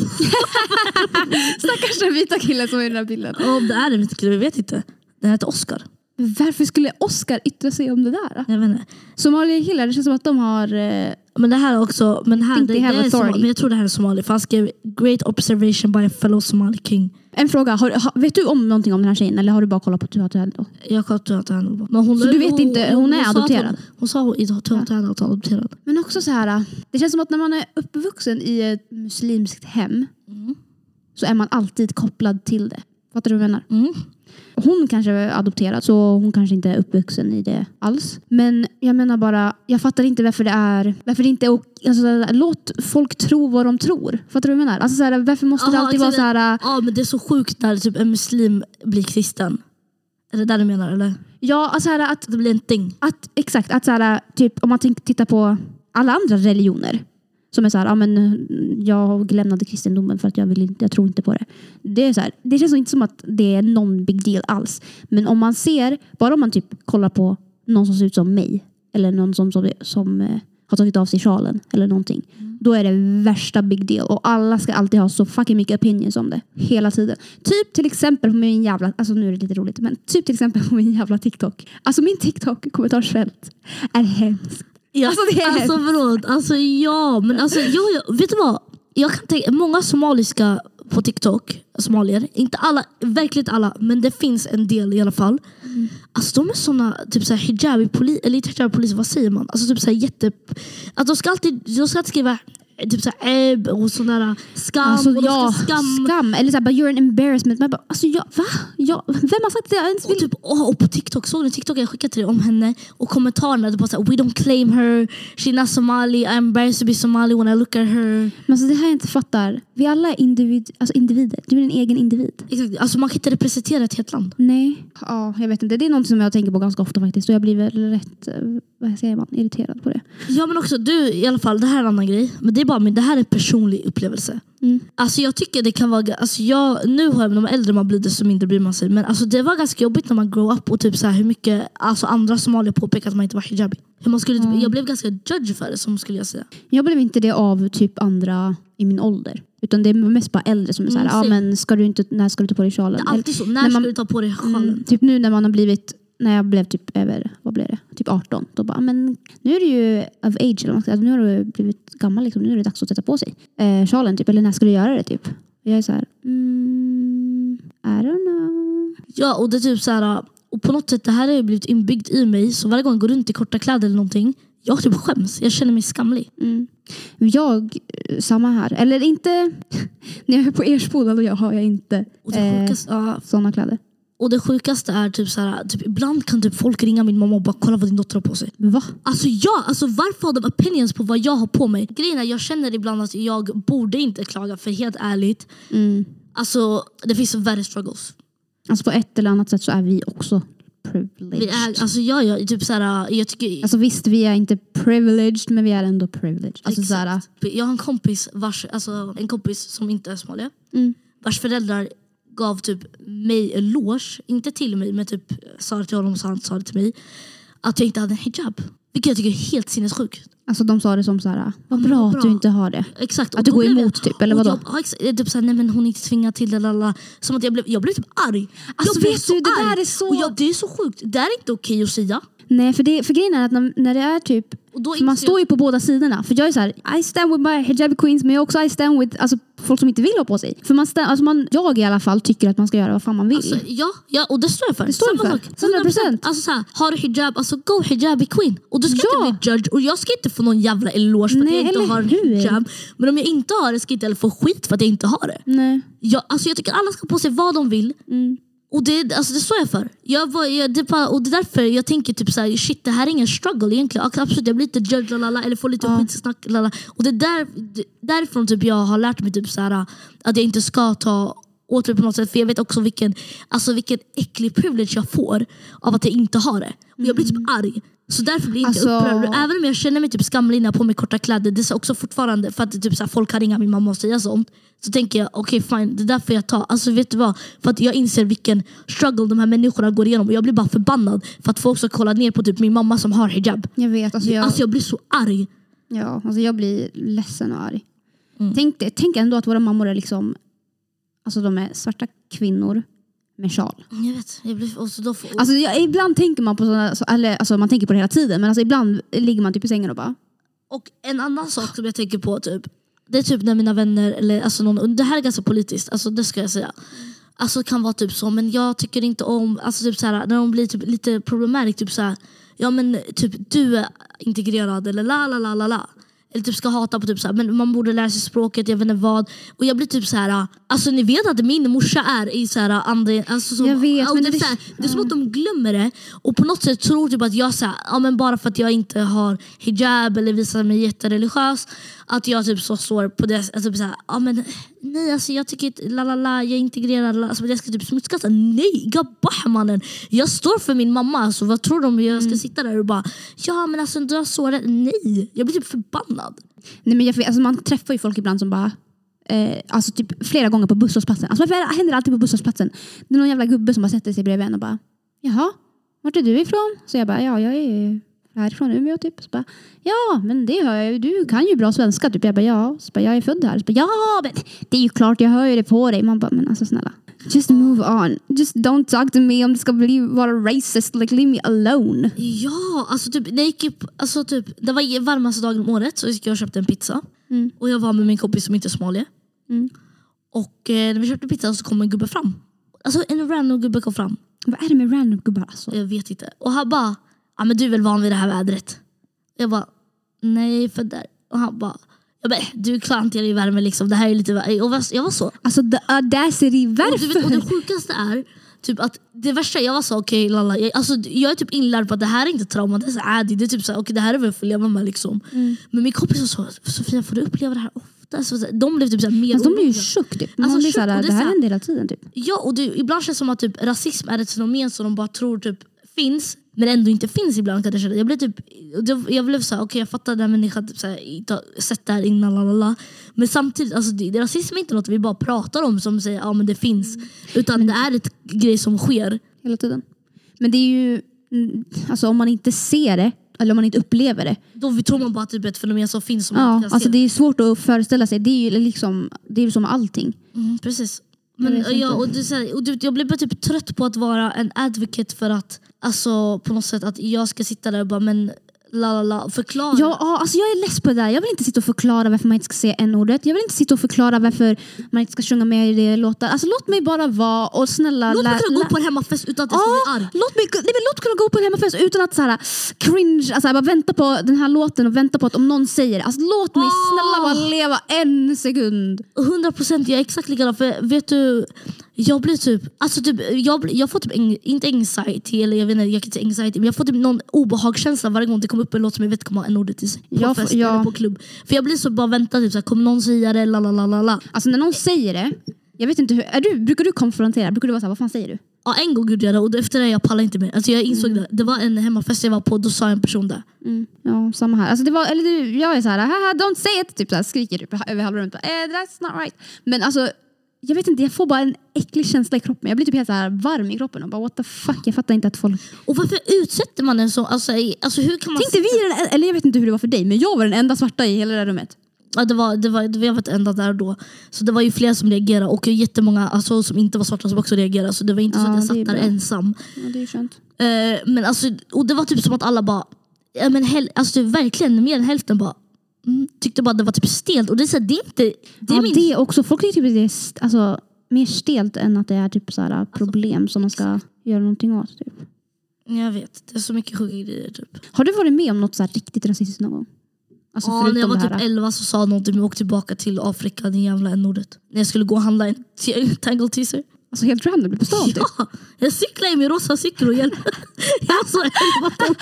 Stackars den vita killen som är i den här bilden. Ja, om det är en vit kille, vi vet inte. Den heter Oscar. Men varför skulle Oscar yttra sig om det där? Jag vet inte. Somalier killar, det känns som att de har... Eh, Men det här är också, men, här, Think det, they det have är authority. somali, men jag tror det här är somalier. För han skrev “Great observation by a fellow Somali king”. en fråga, har, har- vet du om någonting om den här tjejen eller har du bara kollat på Tuha Tuha? då? Jag kan inte ta henne. Men hon, Så du vet inte, hon är sa att adopterad? Hon, hon sa hon- hon sa att hon är adopterad. Men också så här, det känns som att när man är uppvuxen i ett muslimskt hem så är man alltid kopplad till det. Fattar du vad jag menar? Mm. Hon kanske är adopterad så hon kanske inte är uppvuxen i det alls. Men jag menar bara, jag fattar inte varför det är, varför det inte är ok- alltså, så här, låt folk tro vad de tror. Fattar du vad jag menar? Alltså, så här, varför måste det Aha, alltid vara exakt. så här, Ja men det är så sjukt när typ en muslim blir kristen. Är det där du menar eller? ja, alltså, så här, att Att det blir en ting. Att, exakt, att så här, typ, om man tänk, tittar på alla andra religioner som är så här, ja, men, jag lämnade kristendomen för att jag, vill, inte- jag tror inte på det. Det, är så här, det känns inte som att det är någon big deal alls. Men om man ser, bara om man typ kollar på någon som ser ut som mig. Eller någon som, som, som eh, har tagit av sig sjalen eller någonting. Då är det värsta big deal. Och alla ska alltid ha så fucking mycket opinions om det. Hela tiden. Typ till exempel på min jävla, alltså nu är det lite roligt, men typ till exempel på min jävla TikTok. Alltså min TikTok-kommentarsfält är hemskt. Ja, Alltså, det är alltså hemskt. förlåt, alltså ja, men alltså ja, ja, vet du vad? Jag kan tänka, många somaliska på TikTok, somalier, inte alla, verkligen inte alla, men det finns en del i alla fall. Mm. Alltså de är såna, typ såhär hijabi-poliser, eller inte hijabi-poliser, vad säger man? Alltså typ såhär jätte... Alltså, de ska alltid, de ska alltid skriva eh, typ såhär ebb och sådana skam, Alltså, och de ja, ska skam. skam. Eller såhär, bara, you're an embarrassment. Man bara, alltså, jag, va? Jag, vem har sagt det? Jag ens Och, typ, åh, och på TikTok, såg du TikTok jag skickade till dig om henne? Och kommentarerna, det bara såhär, we don't claim her, she's not Somali, I'm embarrassed to be Somali when I look at her. Men alltså det här jag inte fattar. Vi alla är individ, alltså individer. Du är en egen individ. Exakt. Alltså man kan inte representera ett helt land. Nej. Ja, jag vet inte. Det är något som jag tänker på ganska ofta faktiskt. Och jag blir väl rätt, eh, vad säger man, irriterad på det. Ja men också du i alla fall, det här är en annan grej. Men det är bara min, det här är en personlig upplevelse. Mm. Alltså jag tycker det kan vara, ga- alltså jag, nu har jag, när man är äldre man blir desto mindre bryr man sig. Men alltså det var ganska jobbigt när man grow up och typ så här hur mycket alltså andra somalier påpekade att man inte var hijabi. Hur man skulle, typ- Mm. Jag blev ganska judge för det som skulle jag säga. Jag blev inte det av typ andra i min ålder. Utan det är mest bara äldre som är såhär, Mm, ja same. "Ah, men ska du inte, när ska du ta på dig Det sjalen? är alltid så, när när man- ska du ta på dig sjalen? Mm, typ nu när man har blivit, när jag blev typ över, vad blev det? Typ 18. Då bara, men nu är du ju of age. Eller vad man ska, alltså, nu har du blivit gammal liksom. Nu är det dags att sätta på sig eh, sjalen typ. Eller när ska du göra det typ? Och jag är såhär, mm, I don't know. Ja, och det är typ så här, och på något sätt det här har ju blivit inbyggt i mig. Så varje gång jag går runt i korta kläder eller någonting, jag typ skäms. Jag känner mig skamlig. Mm. Jag, eh, samma här. Eller inte, *laughs* när jag är på Ersboda då jag har jag inte Och det eh, sjukaste, ja, sådana kläder. Och det sjukaste är typ så här, typ, ibland kan typ folk ringa min mamma och bara kolla vad din dotter har på sig. Va? Alltså ja, alltså varför har de opinions på vad jag har på mig? Grejen är, jag känner ibland att jag borde inte klaga för helt ärligt, Mm. alltså det finns värre struggles. Alltså på ett eller annat sätt så är vi också privileged. Vi är, alltså jag, jag, typ så här, jag tycker... Alltså visst, vi är inte privileged, men vi är ändå privileged. Alltså, Exakt. så här, Jag har en kompis, vars, alltså, en kompis som inte är somalier. Mm. Vars föräldrar gav typ mig eloge, inte till mig men typ sa det till honom och han sa det till mig. Att jag inte hade en hijab. Vilket jag tycker är helt sinnessjukt. alltså de sa det som så här, vad bra vad att bra. du inte har det. Exakt. Att och du då går blev emot typ, eller och vadå? Jag, ja, exakt, Eh, typ såhär, nej men hon är inte tvingad till det. Lala. Som att jag blev, jag blev typ arg. Alltså, jag blev vet så du, det arg. där är så- Och jag, det är så sjukt. Det är inte okej att säga. Nej, för, det, för grejen är att när, när det är typ, Och då för man inser- står ju på båda sidorna. För jag är så här, I stand with my hijab queens, men jag är också I stand with alltså, folk som inte vill ha på sig. För man stand, alltså man, jag i alla fall tycker att man ska göra vad fan man vill. Alltså, ja, ja, och det står jag för. Det står du Samma för. sak. 100%. Alltså, så här, har du hijab, alltså go hijabi queen. Och du ska Ja. inte bli judged och jag ska inte få någon jävla eloge för Nej, att jag eller inte har en hur? hijab. Men om jag inte har det ska jag inte heller få skit för att jag inte har det. Nej. Jag, alltså, jag tycker alla ska på sig vad de vill. Mm. Och det, alltså, det står jag för. Jag, var- jag, det, var- och det är därför jag tänker typ så här, shit det här är ingen struggle egentligen. Och Absolut, jag blir inte judged lalala, eller får lite Ja. skitsnack. Lalala. Och det är där, det- därifrån typ jag har lärt mig typ så här, att jag inte ska ta åt mig på något sätt. För jag vet också vilken, alltså, vilken äcklig privilege jag får av att jag inte har det. Och jag blir typ arg. Så därför blir jag inte Mm. Alltså- upprörd. Även om jag känner mig typ skamlig när jag har på mig korta kläder, det är så också fortfarande för att typ så här, folk kan ringa min mamma och säga sånt. Så tänker jag, okej fine, det är därför jag tar. Alltså vet du vad? För att jag inser vilken struggle de här människorna går igenom. Och jag blir bara förbannad för att folk ska kolla ner på typ min mamma som har hijab. Jag vet, alltså jag, Alltså jag blir så arg. ja, alltså jag blir ledsen och arg. Tänk, det, tänk ändå att våra mammor är liksom, alltså de är svarta kvinnor med sjal. Jag vet, jag blir, och så då får, Alltså, jag, ibland tänker man på sådana, så- eller alltså, man tänker på det hela tiden, men alltså, ibland ligger man typ i sängen och bara, Och en annan sak som jag tänker på, typ, det är typ när mina vänner, eller alltså någon, och det här är ganska politiskt, alltså det ska jag säga. Alltså kan vara typ så, men jag tycker inte om, alltså typ så här, när de blir typ lite problematic, typ så här, ja men typ du är integrerad eller la la la la la. Eller typ ska hata på typ så här, men man borde lära sig språket, jag vet inte vad. Och jag blir typ så här, alltså ni vet att min morsa är i så här andra, alltså som, Jag vet, och men typ det- så här, det är som att de glömmer det och på något sätt tror typ att jag så här, ja, men bara för att jag inte har hijab eller visar mig jättereligiös att jag typ så står på det alltså, typ så här, ja, men nej alltså jag tycker inte, la la la jag är integrerad, la, alltså, jag ska typ smutskasta. Nej, gabbah mannen! Jag står för min mamma, alltså, vad tror de jag ska sitta där och bara ja men alltså du har sårat, nej! Jag blir typ förbannad. nej men jag, alltså, man träffar ju folk ibland som bara, eh, alltså typ flera gånger på busshållplatsen. Alltså, varför händer det alltid på busshållplatsen? Det är någon jävla gubbe som bara sätter sig bredvid en och bara, jaha, vart är du ifrån? Så jag bara, ja jag är härifrån Umeå typ. Så bara, ja men det hör jag ju, du kan ju bra svenska typ. Jag bara, ja. Så bara, jag är född här. Så bara, ja men det är ju klart, jag hör ju det på dig. Man bara, men alltså snälla. Just move on. Just don't talk to me om det ska bli, vara racist. Like leave me alone. Ja, alltså typ, när jag gick upp, alltså typ, det var varmaste dagen om året så gick jag och köpte en pizza. Mm. Och jag var med min kompis som inte är somalier. Mm. Och eh, när vi köpte pizza så kom en gubbe fram. Alltså en random gubbe kom fram. Vad är det med random gubbar alltså? Jag vet inte. Och han bara, ja men du är väl van vid det här vädret? Jag bara, nej jag är född där. Och han bara, jag bara, "Eh, du är klantigare i värme liksom. Det här är lite värre. Och jag var så. Alltså the audacity, varför? Och, du vet, och det sjukaste är, typ att det värsta jag var så, okej lalla. Jag, alltså, jag är typ inlärd på att det här är inte trauma, det är så här, det är typ så här, okej det här är väl att leva med liksom. Mm. Men min kompis var så, Sofia får du uppleva det här ofta? Så, så här, de blev typ så här, mer Alltså, de blir ju oroliga. chock typ. Man Alltså, blir chock, och såhär, det är det här såhär- händer hela tiden typ. Ja, och det, ibland känns det som att typ, rasism är ett fenomen som de bara tror typ finns, men ändå inte finns ibland. Kan jag, känna. jag blev typ, och det- jag blev så här, okej jag fattar den här människan typ, så här, inte har sett det här innan, lalala. men samtidigt, alltså, det, det- rasism är inte något vi bara pratar om som säger ja men det finns, Mm. utan det är ett grej som sker. Hela tiden. Men det är ju, mm, alltså om man inte ser det, eller om man inte upplever det. Då vi tror man bara att typ, ett fenomen som finns som man Ja, inte kan alltså se. det är svårt att föreställa sig. Det är ju liksom, det är ju som allting. Mm, precis. Jag Men, vet och jag, inte. och det, är så här, och du, vet, jag blev bara typ trött på att vara en advocate för att alltså, på något sätt att jag ska sitta där och bara men la la la och förklara. Ja, ja, alltså jag är less på det där. Jag vill inte sitta och förklara varför man inte ska säga n-ordet. Jag vill inte sitta och förklara varför man inte ska sjunga med i det låtar. Alltså låt mig bara vara och snälla... Låt lä- mig kunna lä- gå på en hemmafest utan att jag ska Ja, bli arg. Ah, låt mig, nej, men låt kunna gå på en hemmafest utan att så här, äh, cringe, alltså, bara vänta på den här låten och vänta på att om någon säger det. Alltså, låt mig Åh. snälla bara leva en sekund. 100 procent, jag är exakt likadan. För vet du, jag blir typ, alltså typ, jag, blir, jag får typ, ang- inte anxiety, eller jag vet inte, jag kan inte säga anxiety, men jag får typ någon obehagskänsla varje gång det kommer upp en låt som jag vet kommer ha en ordet i sig. På Jag får- fest ja. eller på klubb. För jag blir så bara vänta, typ, så här, kommer någon säga det, la la la la la. Alltså när någon säger det, jag vet inte hur, är du, brukar du konfrontera? Brukar du vara såhär, vad fan säger du? Ja, en gång gjorde jag det och efter det jag pallade inte mer. Alltså jag insåg det. Det var en hemmafest jag var på, då sa en person det. Ja, samma här. Alltså det var, eller du, jag är såhär, haha don't say it, typ såhär, skriker du på- över halva rummet. Eh, that's not right. Men alltså, jag vet inte, jag får bara en äcklig känsla i kroppen. Jag blir typ helt såhär varm i kroppen och bara what the fuck, jag fattar inte att folk... Och varför utsätter man en så? Alltså, i- alltså hur kan man... Tänkte vi, är den, eller jag vet inte hur det var för dig, men jag var den enda svarta i hela det där rummet. Ja, det var, det var, det var, jag var inte enda där då. Så det var ju flera som reagerade och jättemånga alltså, som inte var svarta som också reagerade. Så det var inte så Ja, att jag det är satt där bra. ensam. Ja, det är skönt. Eh, men alltså, och det var typ som att alla bara, ja, men häl, alltså, verkligen mer än hälften bara, mm, tyckte bara att det var typ stelt. Och det är, så här, det är inte, det Det är ja, min det också. Folk tycker typ att det är st- alltså, mer stelt än att det är typ såhär, Alltså, problem som man ska göra någonting åt. Typ. Jag vet, det är så mycket sjuka grejer typ. Har du varit med om något så här riktigt rasistiskt någon gång? Alltså ja, förutom när jag var det här. typ 11 så sa någon till mig åk tillbaka till Afrika, det jävla n-ordet. När jag skulle gå och handla en *laughs* t- tangle teaser. Alltså helt random på stan typ. Ja, jag cyklade i min *laughs* rosa cykelhjälm. jag var så 11 år.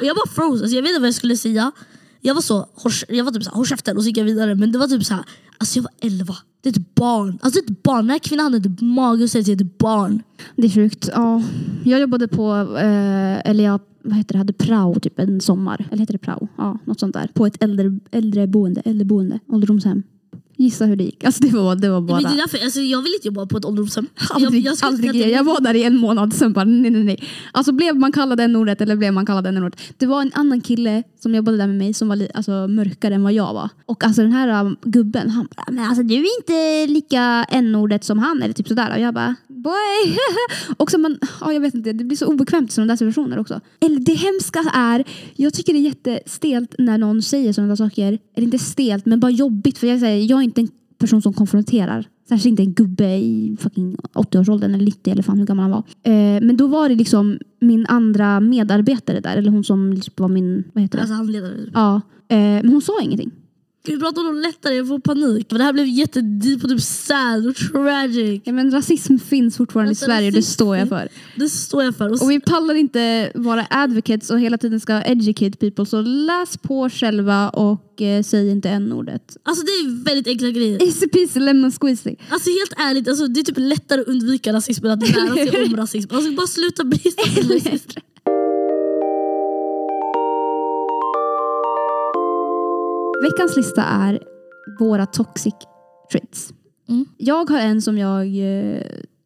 Och Jag bara froze, alltså, jag vet inte vad jag skulle säga. Jag var så, håll kä- jag var typ så här, håll käften och så gick jag vidare. Men det var typ så här, alltså jag var 11. Det är ett barn. Alltså ett barn. Den här kvinnan hade typ mage och säger till ett barn. Det är sjukt. Ja. Jag jobbade på, eh, eller jag vad heter det, hade prao typ en sommar. Eller heter det prao? Ja, något sånt där. På ett äldre, äldreboende, äldreboende, ålderdomshem. Gissa hur det gick. Alltså det var, det var bara... Men det är därför, alltså, jag vill inte jobba på ett ålderdomshem. *laughs* Aldrig, jag, skulle typ aldrig. säga Jag, att- var där i en månad sen bara nej, nej, nej. Alltså blev man kallad en ordet eller blev man kallad en ordet Det var en annan kille som jobbade där med mig som var li- alltså, mörkare än vad jag var. Och alltså den här um, gubben, han bara, men alltså du är inte lika en ordet som han eller typ sådär. Och jag bara, boy. och så man, ja jag vet inte, det blir så obekvämt i sådana där situationer också. Eller det hemska är, jag tycker det är jättestelt när någon säger sådana där saker. Eller inte stelt, men bara jobbigt. För jag säger, jag är inte en person som konfronterar. Särskilt inte en gubbe i fucking 80-årsåldern eller 90 eller fan hur gammal han var. Eh, men då var det liksom min andra medarbetare där, eller hon som typ var min, vad heter det? Alltså handledare. ja. Eh, men hon sa ingenting. Vi pratar om något lättare, jag får panik. För det här blev jättedeep och typ sad och tragic. Ja, men rasism finns fortfarande Alltså, i Sverige, det rasism står jag finns. för. Det står jag för. Och Och vi pallar inte vara advocates och hela tiden ska educate people. Så läs på själva och eh, säg inte n-ordet. Alltså det är väldigt enkla grejer. Easy peasy lemon squeezy. Alltså helt ärligt, alltså, det är typ lättare att undvika rasism än att lära sig om rasism. Alltså bara sluta bli så rasist. Veckans lista är våra toxic traits. Mm. Jag har en som jag eh,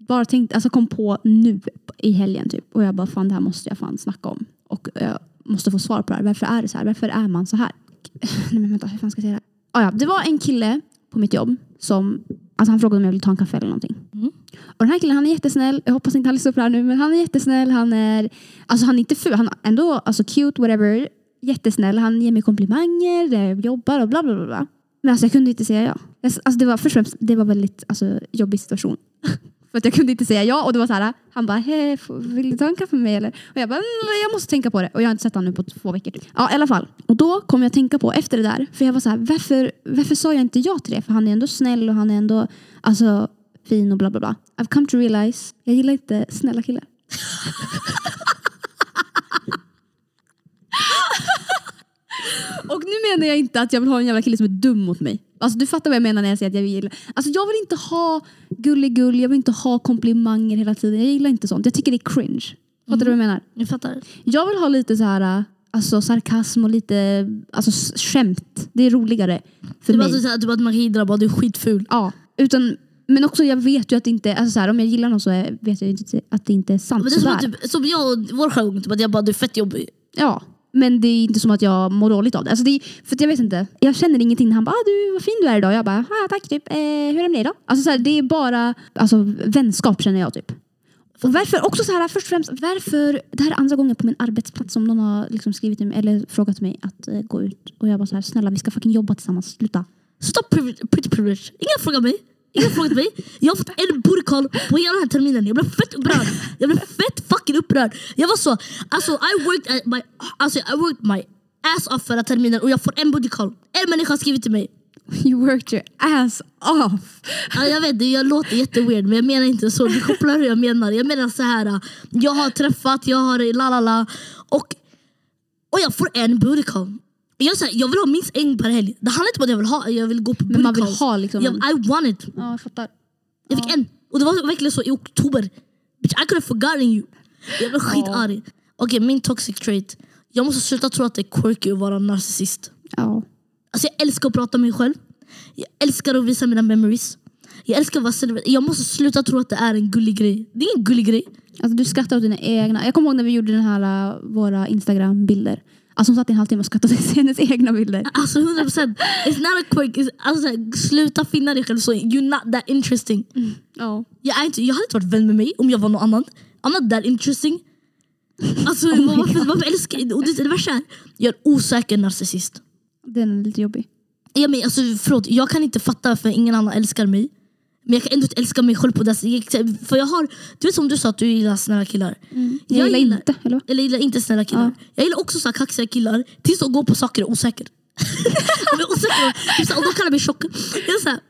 bara tänkte, alltså kom på nu i helgen typ. Och jag bara fan det här måste jag fan snacka om. Och jag måste få svar på det här. Varför är det så här? Varför är man så här? *laughs* Nej men vänta, hur fan ska jag säga det här? Ah, ja, det var en kille på mitt jobb som, alltså han frågade om jag ville ta en kaffe eller någonting. Mm. Och den här killen han är jättesnäll, jag hoppas inte han lyssnar på det här nu, men han är jättesnäll, han är, alltså han är inte ful, han är ändå alltså cute, whatever, jättesnäll, han ger mig komplimanger, jag jobbar och bla bla bla. bla. Men alltså jag kunde inte säga ja. Jag- Alltså det var först och främst, det var väldigt alltså, jobbig situation. *laughs* För att jag kunde inte säga ja och det var så här, han bara, hej, får- vill du ta en kaffe med mig eller? Och jag bara, "Mm, jag måste tänka på det. Och jag har inte sett honom nu på två veckor. Typ. Ja, i alla fall. Och då kom jag att tänka på efter det där, för jag var så här, varför, varför sa jag inte ja till det? För han är ändå snäll och han är ändå, alltså, fin och bla bla bla. I've come to realize, jag gillar inte snälla killar. *laughs* Och nu menar jag inte att jag vill ha en jävla kille som är dum mot mig. Alltså du fattar vad jag menar när jag säger att jag vill. Alltså jag vill inte ha gulligull, jag vill inte ha komplimanger hela tiden. Jag gillar inte sånt. Jag tycker det är cringe. Fattar du vad jag menar? Jag fattar. Jag vill ha lite så här, äh, alltså sarkasm och lite alltså, s- skämt. Det är roligare för Du bara, mig. så här, typ att man kan gidra bara, du är skitful. Ja, utan, men också jag vet ju att det inte, alltså så här, om jag gillar någon så är- vet jag ju inte att det inte är sant. Men det är som, sådär. att, typ, som jag och vår sjöng, typ, att jag bara, du är fett jobbig. Ja, men det är inte som att jag mår dåligt av det. Alltså det är, för att jag vet inte. Jag känner ingenting när han bara ah, du, vad fin du är idag. Jag bara ah, tack typ. Eh, hur är det med dig idag? Alltså så här, det är bara alltså, vänskap känner jag typ. Och varför, också så här först och främst, varför, det här är andra gången på min arbetsplats som någon har liksom skrivit till mig, eller frågat mig att eh, gå ut. Och jag bara så här, snälla vi ska fucking jobba tillsammans, sluta. Stop privi- pretty privilege. Ingen har frågat mig. Ingen har frågat mig. Jag har fått en booty call på hela den här terminen. Jag blev fett upprörd. Jag blev fett fucking upprörd. Jag var så, alltså I worked at my, alltså, I worked my ass off förra terminen och jag får en booty call. En människa har skrivit till mig. *laughs* You worked your ass off. Ja, jag vet, jag låter jätteweird men jag menar inte så. Du kopplar hur jag menar. Jag menar så här. jag har träffat, jag har la la la. Och, och jag får en booty call. Jag, så här, jag vill ha minst en per helg. Det handlar inte om att jag vill ha, jag vill gå på Men man booty vill calls. ha liksom en- Jag, I want it. Ja, jag fattar. Jag fick en. Och det var verkligen så i oktober. Bitch, I could have forgotten you. Jag blev skitarg. Okej, min toxic trait. Jag måste sluta tro att det är quirky att vara narcissist. Ja. Alltså jag älskar att prata om mig själv. Jag älskar att visa mina memories. Jag älskar att vara silver. Jag måste sluta tro att det är en gullig grej. Det är ingen gullig grej. Alltså du skrattar åt dina egna. Jag kommer ihåg när vi gjorde den här, äh, våra Instagram-bilder. Alltså hon satt i en halvtimme och skrattade åt *laughs* hennes egna bilder. Alltså 100 procent. It's not a quirk. It's, alltså, så här, sluta finna dig själv. Så you're not that interesting. Ja. Jag, är inte, jag hade inte varit vän med mig om jag var någon annan. I'm not that interesting. Alltså, my varför, varför älskar och det, det värsta är, jag är en osäker narcissist. Den är lite jobbig. Ja, men, alltså, förlåt, jag kan inte fatta varför ingen annan älskar mig. Men jag kan ändå inte älska mig själv på det sättet. För jag har, du vet som du sa att du gillar snälla killar. Mm. Jag, gillar inte, eller vad? Eller gillar inte snälla killar. Jag gillar också så här kaxiga killar tills de går på saker och *laughs* är osäker. Om jag är osäker, typ så här, och de kallar mig tjock. Jag är så här,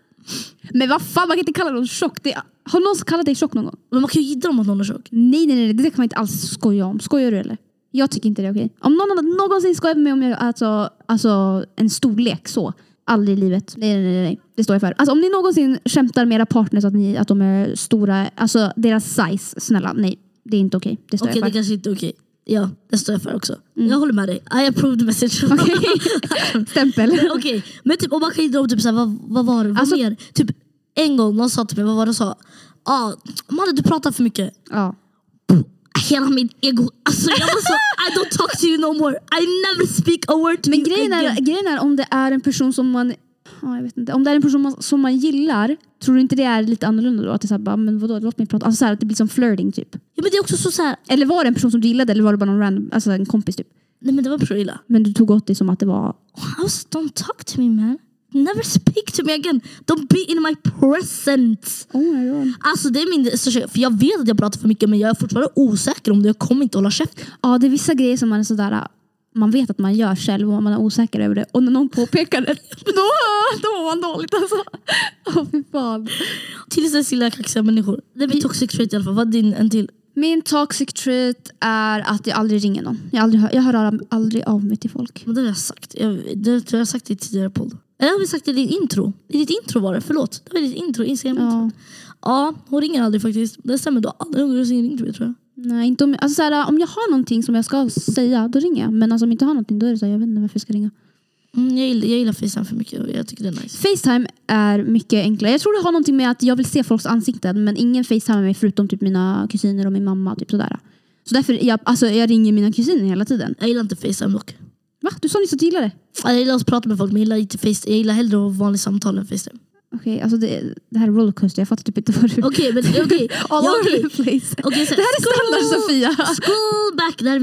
Men vad fan, man kan inte kalla någon tjock. Det är, har någon kallat dig tjock någon gång? men man kan ju gidra om att någon är tjock. Nej, nej, nej, det där kan man inte alls skoja om. Skojar du eller? Jag tycker inte det är okej. Om någon annan någonsin skojar med mig om jag, alltså, alltså, en storlek så. Aldrig i livet. Nej, nej, nej, nej. Det står jag för. Alltså, om ni någonsin skämtar med era partners att, ni, att de är stora, alltså deras size, snälla. Nej, det är inte okej. Det står Okej, jag för. Mm. det kanske inte är okej. Ja, det står jag för också. Jag håller med dig. I approve the message. Okej, *laughs* *laughs* Stämpel. *laughs* men typ, om man kan gidra om typ så här, vad, vad var det? Vad Alltså- mer? Typ, en gång någon sa till mig, vad var det sa? Ah, mannen du pratar för mycket. Ja. Hela mitt ego. Alltså jag var så, I don't talk to you no more. I never speak a word to Men you grejen är, again. grejen är om det är en person som man ja, jag vet inte. Om det är en person man, som man gillar, tror du inte det är lite annorlunda då? Att det är såhär, bara, men vadå, låt mig prata. Alltså så här, att det blir som flirting typ. Ja, men det är också så, så här, Eller var det en person som du gillade eller var det bara någon random, alltså en kompis typ? nej men det var så illa. Men du tog åt det som att det var... How don't talk to me man? Never speak to me again. Don't be in my presence. Oh my god. Alltså det är min största, för jag vet att jag pratar för mycket men jag är fortfarande osäker om det. Jag kommer inte hålla käften. Ja, det är vissa grejer som man är sådär, man vet att man gör själv och man är osäker över det. Och när någon påpekar det, *laughs* då, då mår man dåligt alltså. *laughs* Åh fy fan. Tills dess gillar jag kaxiga människor. Det är min toxic trait i alla fall. Vad är din en till? Min toxic trait är att jag aldrig ringer någon. Jag, aldrig hör, jag hör aldrig av mig till folk. Men det har jag sagt. Jag, det har jag sagt i tidigare podd. Eller har vi sagt i ditt intro? I ditt intro var det, förlåt. Det var i ditt intro, Instagram intro. Ja. Ja, hon ringer aldrig faktiskt. Det stämmer, du har aldrig någonsin ringt mig tror jag. Nej, inte om, alltså, såhär, om jag har någonting som jag ska säga, då ringer jag. Men alltså, om jag inte har någonting, då är det så här, jag vet inte varför jag ska ringa. Mm, jag, gillar, jag gillar Facetime för mycket och jag tycker det är nice. Facetime är mycket enklare. Jag tror det har någonting med att jag vill se folks ansikten men ingen facetimar mig förutom typ mina kusiner och min mamma. Typ sådär. Så därför är jag, alltså, jag ringer mina kusiner hela tiden. Jag gillar inte Facetime dock. Va? Du sa nyss att du gillade det. Jag gillar att prata med folk men jag gillar, inte face, jag gillar hellre att ha vanligt samtal än Facetime. Okej, alltså det, det här är rollercoaster. Jag fattar typ inte vad du... Okej, men okej. Okay. All over the place. Okej, så Det här är standard Sofia. Scroll back närmare.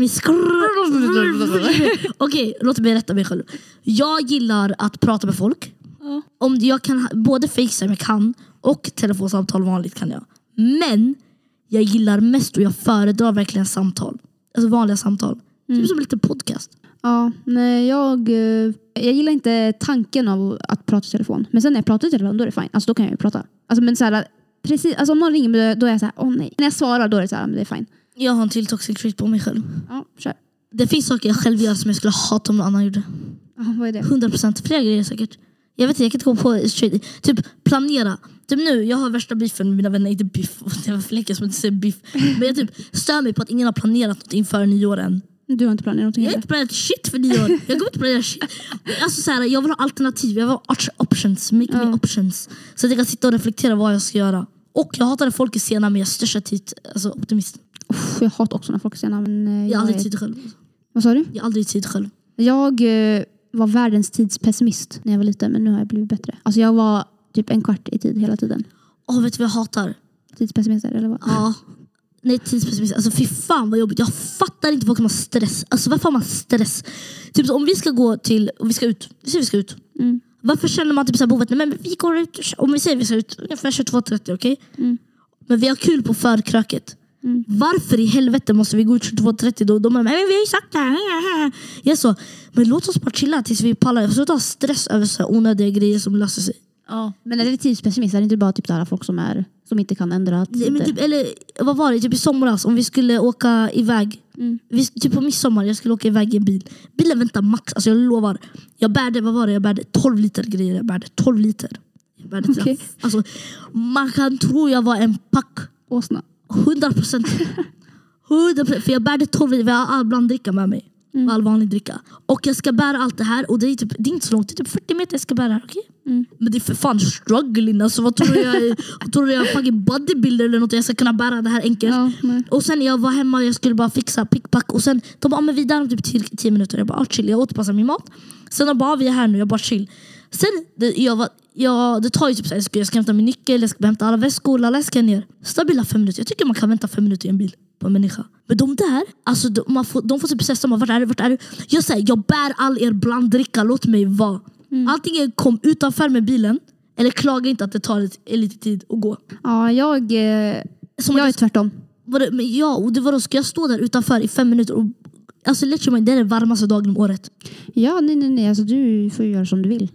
Scroll. Okej, låt mig rätta mig själv. Jag gillar att prata med folk. Ja. Om jag kan, både facetime kan och telefonsamtal vanligt kan jag. Men jag gillar mest och jag föredrar verkligen samtal. Alltså vanliga samtal. Typ som en liten podcast. Ja, nej, jag, eh, jag gillar inte tanken av att prata i telefon. Men sen när jag pratar i telefon då är det fine. Alltså då kan jag ju prata. Alltså, men så här, precis, alltså, om någon ringer mig då är jag så här, åh nej. När jag svarar då är det så här, men det är fine. Jag har en till toxic trait på mig själv. Ja, kör. Det finns saker jag själv gör som jag skulle hata om någon annan gjorde. Ja, vad är det? 100 procent. Flera grejer säkert. Jag vet inte, jag kan inte komma på straight. Typ planera. Typ nu, jag har värsta biffen med mina vänner. Inte *laughs* biff, det var för länge som inte säger biff. Men jag typ stör mig på att ingen har planerat något inför nyår än. Du har inte planerat någonting Jag har heller? inte planerat shit för nyår. Jag kommer inte planera shit. Alltså så här, jag vill ha alternativ. Jag vill ha arch- options. Make me options. Så att jag kan sitta och reflektera vad jag ska göra. Och jag hatar när folk är sena men jag är största tid, alltså optimist. Uff, jag hatar också när folk är sena. Men, eh, Jag har jag aldrig är, tid själv. vad sa du? Jag har aldrig tid själv. Jag eh, var världens tidspessimist när jag var liten men nu har jag blivit bättre. Alltså jag var typ en kvart i tid hela tiden. Åh, vet du vad jag hatar? Tidspessimister eller vad? Ja. Nej, tidspessimism. Alltså fy fan vad jobbigt. Jag fattar inte folk som har stress. Alltså varför har man stress? Typ så, om vi ska gå till, och vi ska ut. Vi säger vi ska ut. Mm. Varför känner man typ så här behovet, nej men vi går ut, om vi säger vi ska ut ungefär 22.30, okej? Mm. Men vi har kul på förkröket. Mm. Varför i helvete måste vi gå ut 22.30 då? De bara, men vi har ju sagt det här. Jag är så, men låt oss bara chilla tills vi pallar. Sluta ha stress över så här onödiga grejer som löser sig. Ja. Men är det tidspessimist? Är det inte bara typ där folk som, är, som inte kan ändra Nej, tider? men typ, eller vad var det? Typ i somras om vi skulle åka iväg. Mm. Vi, typ på midsommar, jag skulle åka iväg i en bil. Bilen väntar max, alltså jag lovar. Jag bärde, vad var det? Jag bärde 12 liter grejer. Jag bärde 12 liter. Jag bärde till- Okej. alltså, man kan tro jag var en pack. Åsna. 100 procent. 100 procent. För jag bärde 12 liter, jag har all blanddricka med mig. Mm. All vanlig dricka. Och jag ska bära allt det här och det är, typ, det är inte så långt, det är typ 40 meter jag ska bära det här. okej? Mm. Men det är för fan struggling alltså. Vad tror du *laughs* jag är? Vad tror du jag är fucking bodybuilder eller något? Jag ska kunna bära det här enkelt. Ja, nej. Och sen jag var hemma och jag skulle bara fixa pickpack och sen de bara, ah, men vi är där om typ 10 10 minuter. Jag bara, ah, chill, jag åt bara min mat. Sen de bara, ah, vi är här nu, jag bara chill. Sen, det, jag var, jag, det tar ju typ, så här, jag ska, jag ska hämta min nyckel, jag ska hämta alla väskor, alla läskar ner. Stabila fem minuter. Jag tycker man kan vänta fem minuter i en bil på en människa. Men de där, alltså, de, man får, de får typ stressa, man, vart är du, vart är du? Jag säger, jag bär all er blanddricka, låt mig vara. Antingen kom utanför med bilen, eller klaga inte att det tar lite, lite tid att gå. Ja, jag, eh, Som att jag är tvärtom. var det, men ja, och det var då, ska jag stå där utanför i fem minuter och Alltså Letchman, det är den varmaste dagen om året. Ja, nej, nej, nej. Alltså, du får ju göra som du vill.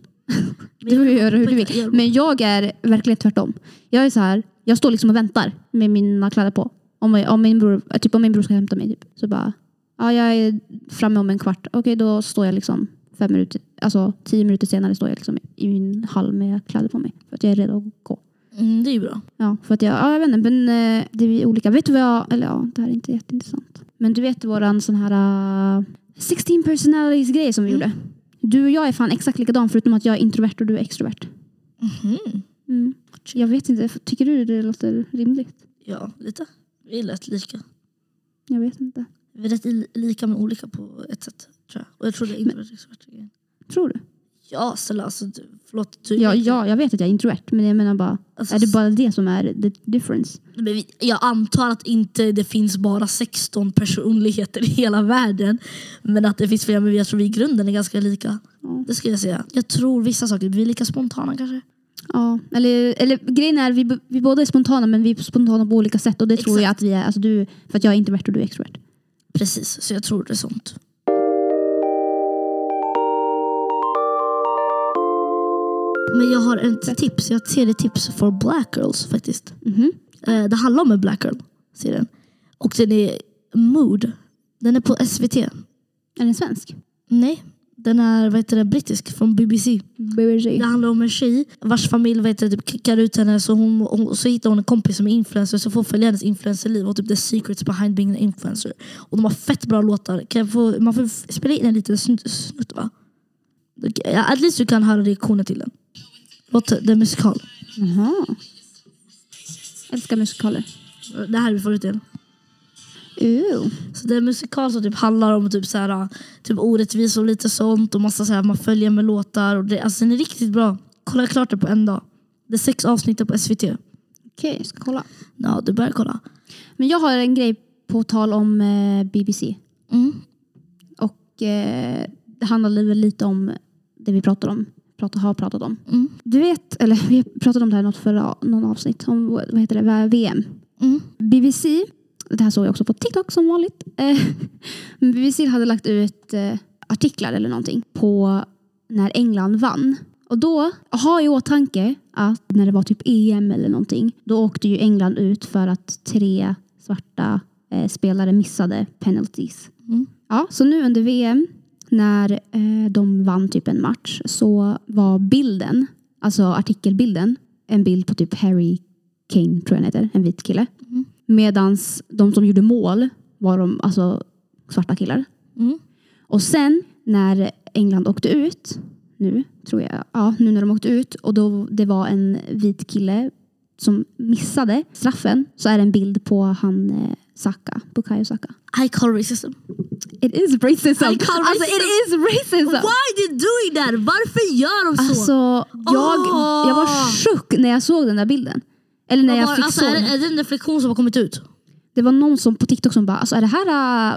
Du får ju göra hur du vill. Men jag är verkligen tvärtom. Jag är så här, jag står liksom och väntar med mina kläder på. Om, jag, om, min, bror, typ om min bror ska hämta mig typ, så bara, ja, jag är framme om en kvart. Okej, då står jag liksom fem minuter, alltså tio minuter senare står jag liksom i min hall med kläder på mig. För att jag är redo att gå. Mm, det är ju bra. Ja, för att jag, ja, jag vet inte, men eh, det är olika. Vet du vad jag, eller ja, det här är inte jätteintressant. Men du vet våran sån här eh, 16 personalities grej som vi gjorde. Du och jag är fan exakt likadan förutom att jag är introvert och du är extrovert. Mm. Jag vet inte, tycker du det låter rimligt? Ja, lite. Vi är rätt lika. Jag vet inte. Vi är rätt i- lika men olika på ett sätt. Tror jag. Och jag tror det är introvert extrovert grejen. Tror du? Ja, Stella. Alltså, du, förlåt. Du, Ja, ja, jag vet att jag är introvert, men jag menar bara, Alltså, är det bara det som är the difference? men vi- jag antar att inte det finns bara 16 personligheter i hela världen. Men att det finns fler. Men jag tror vi i grunden är ganska lika. Ja. Det skulle jag säga. Jag tror vissa saker. Vi är lika spontana kanske. Ja, eller, eller grejen är vi, b- vi båda är spontana, men vi är spontana på olika sätt och det tror jag att vi är. Alltså du, för att jag är introvert och du är extrovert. Precis, så jag tror det är sånt. Men jag har ett tips. Jag har ett serietips för black girls faktiskt. Mhm. Eh, Det handlar om en black girl, serien. Och den är Mood. Den är på SVT. Är den svensk? Nej, den är vad heter det, brittisk från BBC. BBC. Det handlar om en tjej vars familj vad heter, det, typ kickar ut henne så, hon, hon, så hittar hon en kompis som är influencer så får följa hennes influencerliv och typ the secrets behind being an influencer. Och de har fett bra låtar. Kan jag få, man får f- spela in en liten snutt, snutt va? Ja, At least du kan höra reaktioner till den. What, den är musikal. Jaha. Älskar musikaler. Det här är vi förut igen. Ooh. Så det är en musikal som typ handlar om typ så här, typ orättvisor och lite sånt. Och massa så här, man följer med låtar. Och det, alltså den är riktigt bra. Kolla klart det på en dag. Det är sex avsnitt på SVT. Okej, jag ska kolla. Ja, du börjar kolla. Men jag har en grej på tal om eh, BBC. Mm. Och eh, det handlar väl lite om det vi pratar om. Pratar, har pratat om. Mm. Du vet, eller *laughs* vi pratade om det här i något förra någon avsnitt. Om vad heter det? VM. Mm. BBC, det här såg jag också på TikTok som vanligt. Eh, *laughs* men BBC hade lagt ut eh, artiklar eller någonting på när England vann. Och då, ha i åtanke att när det var typ EM eller någonting, då åkte ju England ut för att tre svarta eh, spelare missade penalties. Mm. Ja, så nu under VM när eh, de vann typ en match så var bilden, alltså artikelbilden, en bild på typ Harry Kane tror jag han heter, en vit kille. Mm. Medans de som gjorde mål var de alltså svarta killar. Mm. Och sen när England åkte ut, nu tror jag, ja nu när de åkte ut och då det var en vit kille som missade straffen så är det en bild på han eh, Saka, Bukayo Saka. I call racism. It is racism! I call Alltså it is racism! Why are you doing that? Varför gör de så? Alltså jag, Åh! jag var chock när jag såg den där bilden. Eller när Ah. Vad var- jag fick alltså, såg är, den. det, är det en reflektion som har kommit ut? Det var någon som på TikTok som bara, alltså, är det här,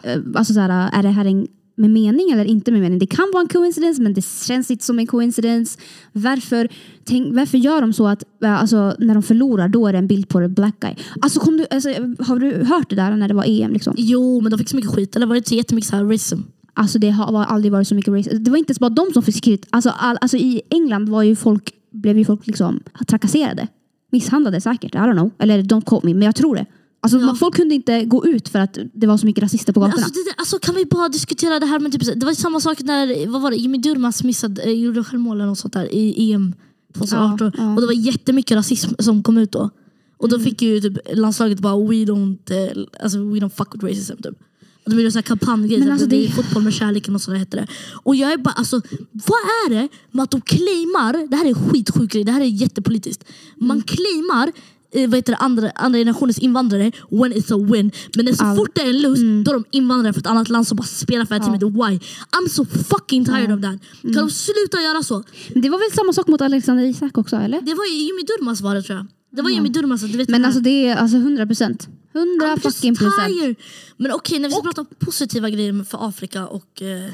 äh, alltså, så här, äh, är det här en, med mening eller inte med mening? Det kan vara en coincidence men det känns inte som en coincidence. Varför, tänk, varför gör de så att äh, alltså, när de förlorar då är det en bild på det black guy? Alltså, kom du, alltså, har du hört det där när det var EM? Liksom? Jo, men de fick så mycket skit. Eller var det inte jättemycket så här racism? Alltså, det har har aldrig varit så mycket racism. Det var inte ens bara de som fick skryt. Alltså, all, alltså, I England var ju folk, blev ju folk liksom, trakasserade. Misshandlade säkert, I don't know. Eller de kom in, men jag tror det. Alltså, Ja. man- Folk kunde inte gå ut för att det var så mycket rasister på Men gatorna. Alltså, det, där- alltså, kan vi bara diskutera det här med typ, så- det var ju samma sak när vad var det, Jimmy Durmaz missade, eh, gjorde självmål eller något sånt där i EM 2018. Ja, ja. Och det var jättemycket rasism som kom ut då. Och Mm. då fick ju typ landslaget bara we don't, eh, alltså, we don't fuck with racism typ. Och då blev det så här kampanjgrej, Men så här, alltså, det är det- fotboll med kärleken och sådär hette det. Och jag är bara, alltså vad är det med att de claimar, det här är en skitsjuk grej, det här är jättepolitiskt. Man Mm. claimar eh, vad heter det, andra, andra generationens invandrare when it's a win. Men när så All- Mm. fort det är en lose, då är de invandrare från ett annat land som bara spelar för det här teamet. Why? I'm so fucking tired of that. Kan Mm. de sluta göra så? Men det var väl samma sak mot Alexander Isak också eller? Det var ju Jimmy Durmaz var det tror jag. Det var Jimmy Durmaz, du vet Mm. Men den här- alltså det är alltså 100 procent. 100 I'm just fucking procent. tired. Men okej, när vi ska prata om positiva grejer för Afrika och eh,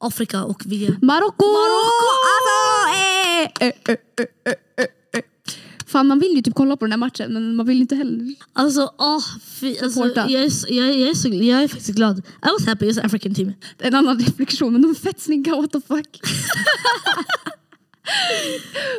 Afrika och VM. Marocko! Marocko, Alltså! Eh, eh, eh, eh, eh, eh. Fan man vill ju typ kolla på den här matchen men man vill ju inte heller. Alltså, åh, fy, alltså Supporta. jag, är, så- jag, är- jag, är så, jag är faktiskt glad. I was happy, it's an African team. En annan *laughs* reflektion men de är fett snygga what the fuck.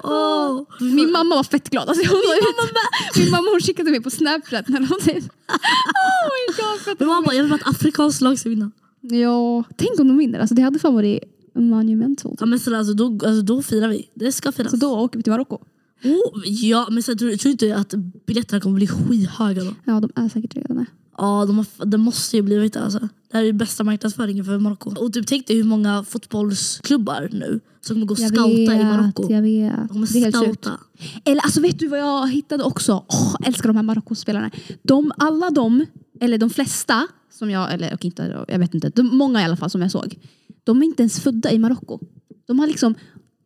Oh. Min mamma var fett glad. Alltså, hon Min, mamma Min mamma hon skickade mig på snapchat när hon typ. *laughs* Oh my god fett Men man bara, jag vill att ett afrikanskt lag ska vinna. Ja, tänk om de vinner. Alltså det hade fan varit monumental. Ja, men sådär, alltså, då, alltså, då firar vi. Det ska firas. Så då åker vi till Marocko. Oh, ja, men sen tror, tror du inte att biljetterna kommer bli skyhöga då? Ja de är säkert redan där. Ja, de har, det måste ju blivit det alltså. Det här är ju bästa marknadsföringen för Marocko. Och typ tänk dig hur många fotbollsklubbar nu som kommer gå och scouta i Marocko. Jag vet. De kommer Det är helt sjukt. scouta. Eller alltså vet du vad jag hittade också? Åh, jag älskar de här Marocko-spelarna. De, alla de, eller de flesta, som jag, eller okej, inte, jag vet inte, de, många i alla fall som jag såg. De är inte ens födda i Marocko. De har liksom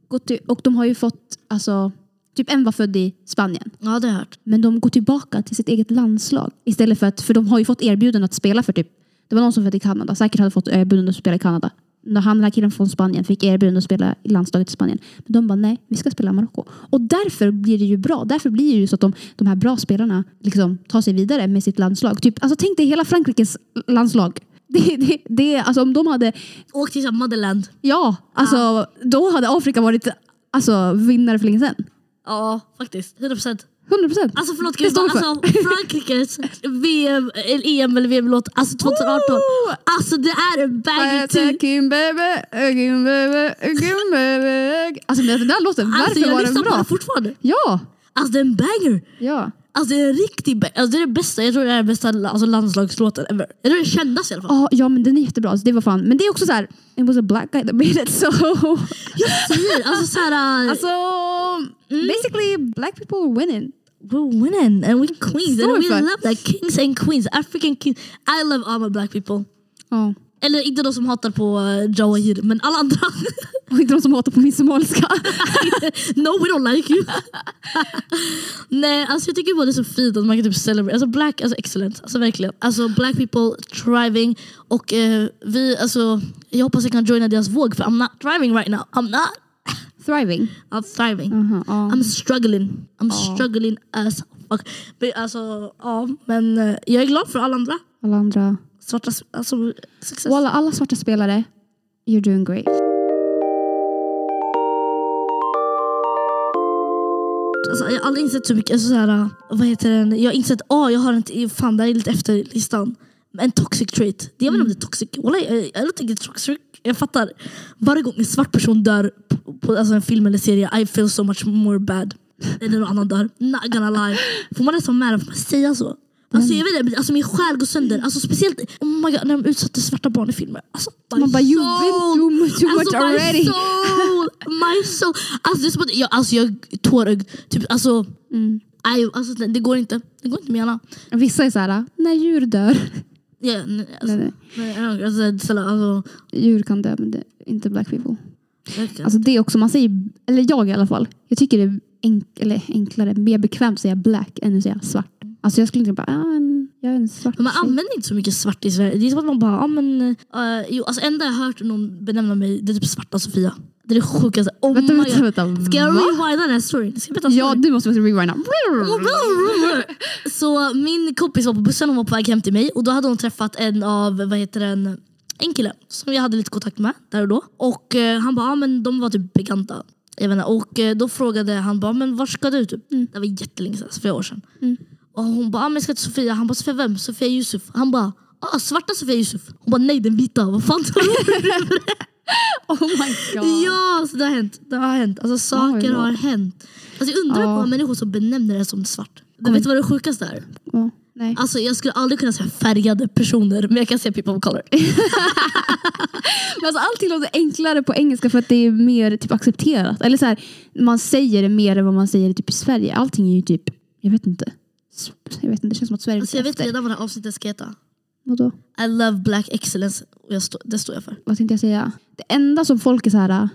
gått till, och de har ju fått, alltså, typ en var född i Spanien. Ja, det har jag hört. Men de går tillbaka till sitt eget landslag. Istället för att, för de har ju fått erbjudanden att spela för typ, det var någon som födde i Kanada, säkert hade fått erbjudanden att spela i Kanada. När han, den här killen från Spanien fick erbjudanden att spela i landslaget i Spanien. Men de bara nej, vi ska spela i Marocko. Och därför blir det ju bra. Därför blir det ju så att de, de här bra spelarna liksom tar sig vidare med sitt landslag. Typ, alltså tänk dig hela Frankrikes landslag. Det, det, det, alltså om de hade, Åk till så här Motherland. ja, alltså då hade Afrika varit alltså, vinnare för länge sedan. Ja, faktiskt. 100 procent. 100 procent. Alltså förlåt, kan vi Det står bara, vi för. alltså, Frankrikes VM, eller EM eller VM-låt, alltså 2018. Woo! Alltså det är en baggy tea. Alltså den där låten, varför Alltså jag var den Alltså, lyssnar på bra? den fortfarande. Ja, Alltså det är en banger. ja. Alltså det är en riktig bä- alltså, det är det bästa, jag tror det är den bästa alltså, landslagslåten ever. Jag tror den kändas i alla fall. Ja, ja, men den är jättebra. Så det var fan. Men det är också så här, it was a black guy that made it so... Säger, alltså såhär, alltså, mm. basically black people were winning. we're winning and we're queens and we Sorry. love that. Kings and queens, African kings. I love all my black people. Ja. Eller inte de som hatar på eh, Jawahir, men alla andra. *laughs* Och inte de som hatar på min somaliska. no we don't like you. *laughs* Nej, alltså jag tycker bara det är så fint att man kan typ celebrate. Alltså black, alltså excellent. Alltså verkligen. Alltså black people thriving. Och eh, vi, alltså jag hoppas jag kan joina deras våg för I'm not thriving right now. I'm not. Thriving. I'm thriving. Um, Aha, ja. I'm struggling. I'm struggling as fuck. Men, alltså, ja, men eh, jag är glad för alla andra Alla andra. svarta s- alltså, success. Walla, alla svarta spelare, you're doing great. Alltså, jag har aldrig insett så mycket. Alltså, så här, vad heter den? Jag har insett, ah jag har inte, fan det här är lite efter listan. En toxic trait. Det Mm. jag vet inte om det är toxic. Walla, jag, jag, jag tycker toxic. Jag fattar. Varje gång en svart person dör på, på alltså, en film eller serie, I feel so much more bad. Eller någon annan dör. Not gonna lie. Får man det som mad, får man säga så? Alltså, jag vet inte, men alltså, min själ går sönder. Alltså, speciellt oh my God, när de utsatte svarta barn i filmer. Alltså, my Man bara, you've soul. been too much, too much Alltså already. my soul! My soul! Alltså, det är som att jag, alltså, jag tårögd. Typ, alltså, aj, alltså, det går inte. Det går inte med hjärnan. Mm. Vissa är så här, när djur dör. Ja, nej, alltså, Nej, nej. nej, nej, alltså, det är så- alltså, Djur kan dö, men det är inte black people. verkligen. Alltså det är också, man säger, eller jag i alla fall, jag tycker det är enk, eller enklare, mer bekvämt att säga black än att säga svart. Alltså jag skulle inte bara, ah, en- jag är en svart Men man tjej. använder inte så mycket svart i Sverige. Det är som att man bara, ja men... eh, jo, alltså enda jag hört någon benämna mig, det är typ svarta Sofia. Det är det sjukaste. Oh Vänta, my vänta, God. vänta. Ska jag va? rewinda den här storyn? Ska jag berätta Ja, storyn? du måste rewinda. *laughs* Så min kompis var på bussen hon var på väg hem till mig och då hade hon träffat en av, vad heter den, en kille som jag hade lite kontakt med där och då. Och eh, han bara, ah, men de var typ bekanta. Jag vet inte, och eh, då frågade han bara, men var ska du? Typ? Det var jättelänge sedan, flera år sedan. Och hon bara, ah, men jag ska till Sofia. Han bara, Sofia vem? Sofia Yusuf. Han bara, ah, svarta Sofia Yusuf. Hon bara, nej den vita. Vad fan tror du? Oh my god. *laughs* Ja, så det har hänt. Det har hänt. Alltså, saker Oj då. har hänt. Alltså, jag undrar Ja. på människor som benämner det som svart. Du vet vad det sjukaste är? Ja, nej. Alltså, jag skulle aldrig kunna säga färgade personer, men jag kan säga people of color. Men alltså, allting låter enklare på engelska för att det är mer typ, accepterat. Eller så här, man säger det mer än vad man säger typ, i Sverige. Allting är ju typ, jag vet inte. S- Jag vet inte, det känns som att Sverige Alltså, jag vet efter. redan vad det här avsnittet ska heta. Vadå? I love black excellence. Och jag stå, det står jag för. Vad tänkte jag säga? Det enda som folk är så här...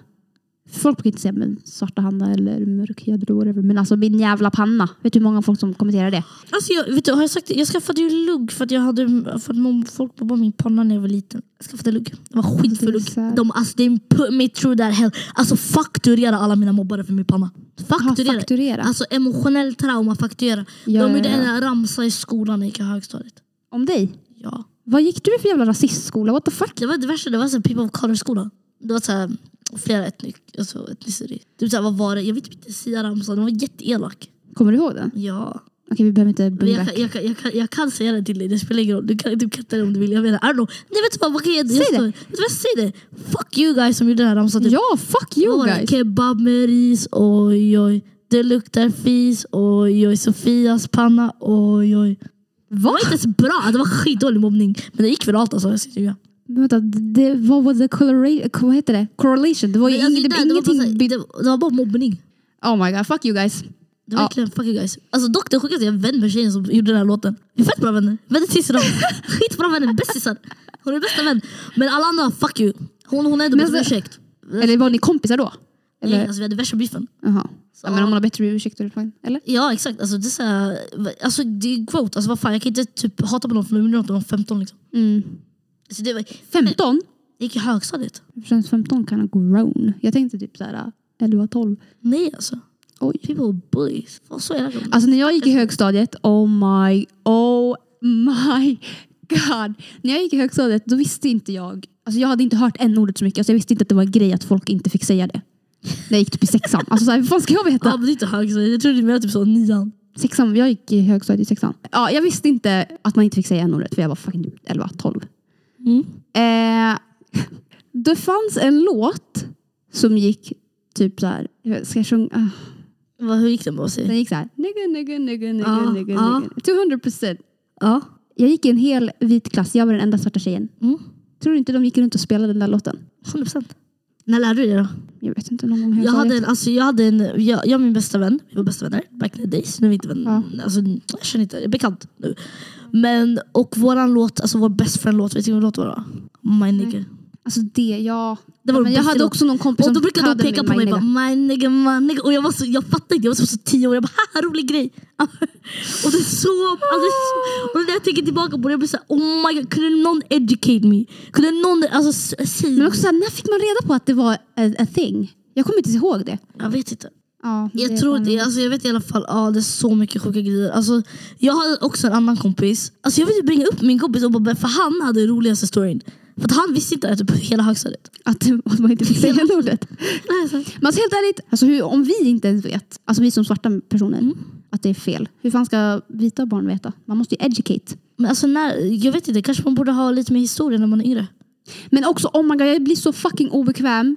Folk brukar inte säga men, svarta Hanna eller mörkhyad eller whatever. Men alltså min jävla panna. Vet du hur många folk som kommenterar det? Alltså, jag, vet du, har jag, sagt, det? jag skaffade ju lugg för att jag hade för att mon- folk på min panna när jag var liten. Jag skaffade lugg. Det var skitful Det är så här- lugg. De, alltså, de put me through that hell. Alltså fakturera alla mina mobbare för min panna. Fakturera. Aha, fakturera. Alltså emotionell trauma, fakturera. Ja, de ja, gjorde ja. en ramsa i skolan när jag gick i högstadiet. Om dig? Ja. Vad gick du för jävla rasistskola? What the fuck? Det var det värsta, det var så här people of color skola. Det var så här, flera etnik, alltså etnicity. Typ så här, vad var det? Jag vet inte, Sia Ramsa, den var jätteelak. Kommer du ihåg den? Ja. Okej, vi behöver inte Men bring jag, back. kan, jag, kan, jag, kan, jag kan säga det till dig, det spelar ingen roll. Du kan, du kan ta det om du vill. Jag menar, I don't know. Nej vet du vad, vad kan jag, jag Säg det. står- Vet du vad, säg det! Fuck you guys som gjorde den här ramsan. Typ. Ja, fuck Vad you var det? guys! Kebab med ris, oj oj. Det luktar fis, oj oj. Sofias panna, oj oj. Det Va? var inte ens bra, det var skitdålig mobbning. Men det gick väl allt alltså. Jag ska inte ljuga. Men Vänta, det, vad var det? Correlation? Vad heter det? Correlation? Det var ju Men alltså, ing, det, var där, det var bara ingenting... så här- det- det var bara mobbning. oh my god, fuck you guys. Det Ja. var verkligen fuck you guys. Alltså dock det sjukaste, jag är vän med tjejen som gjorde den här låten. Vi är fett bra vänner. *laughs* Väldigt tisser Skitbra vänner, bästisar. Hon är bästa vän. Men alla andra, fuck you. Hon, hon är ändå Men bäst med alltså- ursäkt. Eller var ni kompisar då? Eller? Nej, alltså, vi hade värsta beefen. Jaha. Så- Ja, men om man har bättre ursäkt, då är det fine. Eller? Ja exakt, alltså, det är, så här, alltså, det är growth. Alltså, vad fan, jag kan inte typ, hata på någon för de gjorde något när de var 15. Liksom. Mm. Alltså, det var, 15? jag gick i högstadiet. Det känns 15 kan ha grown. Jag tänkte typ såhär 11-12. Nej alltså. Oj. People are bullies. Fan, så är det. Alltså när jag gick i högstadiet, oh my, oh my god. När jag gick i högstadiet då visste inte jag, alltså jag hade inte hört en ordet så mycket. Alltså jag visste inte att det var en grej att folk inte fick säga det. När jag gick typ i sexan. Alltså så här, vad fan ska jag veta? Ja, men det är inte högstadiet. Jag trodde du menade typ så nian. Sexan, jag gick i högstadiet i sexan. Ja, jag visste inte att man inte fick säga n-ordet för jag var fucking typ 11-12. Mm. Eh, det fanns en låt som gick typ så här. jag vet, Ska jag sjunga? Ah, Vad, hur gick det med sig? Den gick så här. Nigga, nigga, nigga, Ja, nigga, nigga, ja. nigga. 200 procent. Ja. Jag gick i en hel vit klass. Jag var den enda svarta tjejen. Mm. Tror du inte de gick runt och spelade den där låten? 100%. När lärde du dig då? Jag vet inte. Någon gång i Jag hade högstadiet. en, alltså, jag hade en, jag, jag och min bästa vän, vi var bästa vänner back in the days. Nu är vi inte vänner, alltså, jag känner inte, jag är bekant nu. Men, och våran låt, alltså vår best friend låt, vet du vilken låt det var? My nigga. Alltså det, ja. Det var ja den men jag bästa hade låten. också någon kompis Och då som brukade de hade peka min på mig My bara, Nigga. my nigga, my nigga. Och jag, var så, jag fattade inte, jag var så, så tio år, jag bara haha rolig grej. *laughs* och det är så, alltså, det är så- och när jag tänker tillbaka på det, jag blir såhär oh my god, kunde någon educate me? Kunde någon alltså, s- säga? Men också så här, när fick man reda på att det var a, a thing? Jag kommer inte ens ihåg det. Jag vet inte. Ja, Jag tror det, alltså jag vet i alla fall, ja det är så mycket sjuka grejer. Alltså, jag hade också en annan kompis, alltså jag vill typ ringa upp min kompis och bara, för han hade den roligaste storyn. För att han visste inte att typ hela högstadiet. Att, att man inte *laughs* fick säga det ordet. Alltså, Men alltså helt ärligt, alltså hur, om vi inte ens vet, alltså vi som svarta personer, Mm. att det är fel. Hur fan ska vita barn veta? Man måste ju educate. men alltså när, jag vet inte, kanske man borde ha lite mer historia när man är yngre. Men också, oh my god, jag blir så fucking obekväm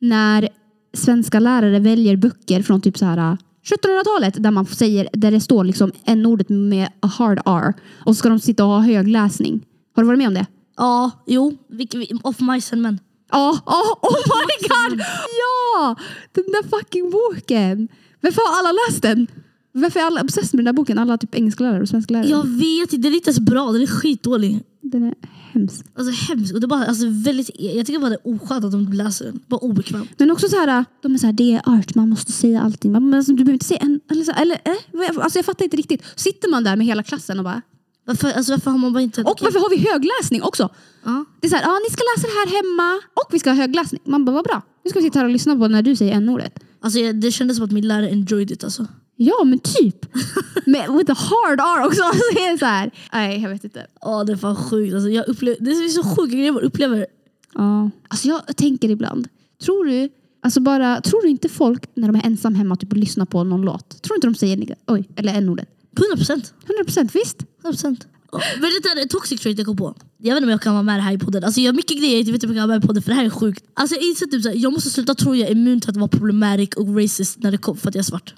när svenska lärare väljer böcker från typ så här 1700-talet där man säger, där det står liksom en ordet med a hard R och så ska de sitta och ha högläsning. Har du varit med om det? Ja, jo, vilket- off majsen men. Ja, ja, oh my god! Ja! Den där fucking boken! Varför har alla läst den? Varför är alla obsessed med den där boken? Alla typ engelsklärare och svensklärare. Jag vet inte, den är inte ens bra, den är skitdålig. Den är hemsk. Alltså hemskt, och det är bara, alltså, väldigt, jag tycker bara det är oskönt att de läser den. Bara obekvämt. Men också så här, de är så här, det är art, man måste säga allting. Man, men alltså, du behöver inte säga en, eller, så, eller eh, vad- alltså jag fattar inte riktigt. Sitter man där med hela klassen och bara, Varför, alltså, varför har man bara inte... och varför har vi högläsning också? Ja. Det är så här, ja ni ska läsa det här hemma och vi ska ha högläsning. Man bara, vad bra. Nu ska vi sitta här och lyssna på när du säger n-ordet. Alltså, jag- det kändes som att min lärare enjoyed it alltså. Ja men typ. *laughs* Med, with a hard R också. *laughs* Alltså, det är så här. Nej jag vet inte. Ja, det är fan sjukt. Alltså, jag upplever, det är så sjuka grejer man upplever. Ja. Alltså jag tänker ibland, tror du, alltså bara, tror du inte folk när de är ensam hemma typ, och lyssnar på någon låt, tror du inte de säger nigga, oj, eller n-ordet? 100 procent. 100 procent visst? 100 procent. Men det där är toxic trait jag kom på. Jag vet inte om jag kan vara med här i podden. Alltså, jag har mycket grejer jag inte vet om jag kan vara med i podden för det här är sjukt. Alltså, jag inser typ så här, jag måste sluta tro jag är immun till att vara problematic och racist när det kommer för att jag är svart.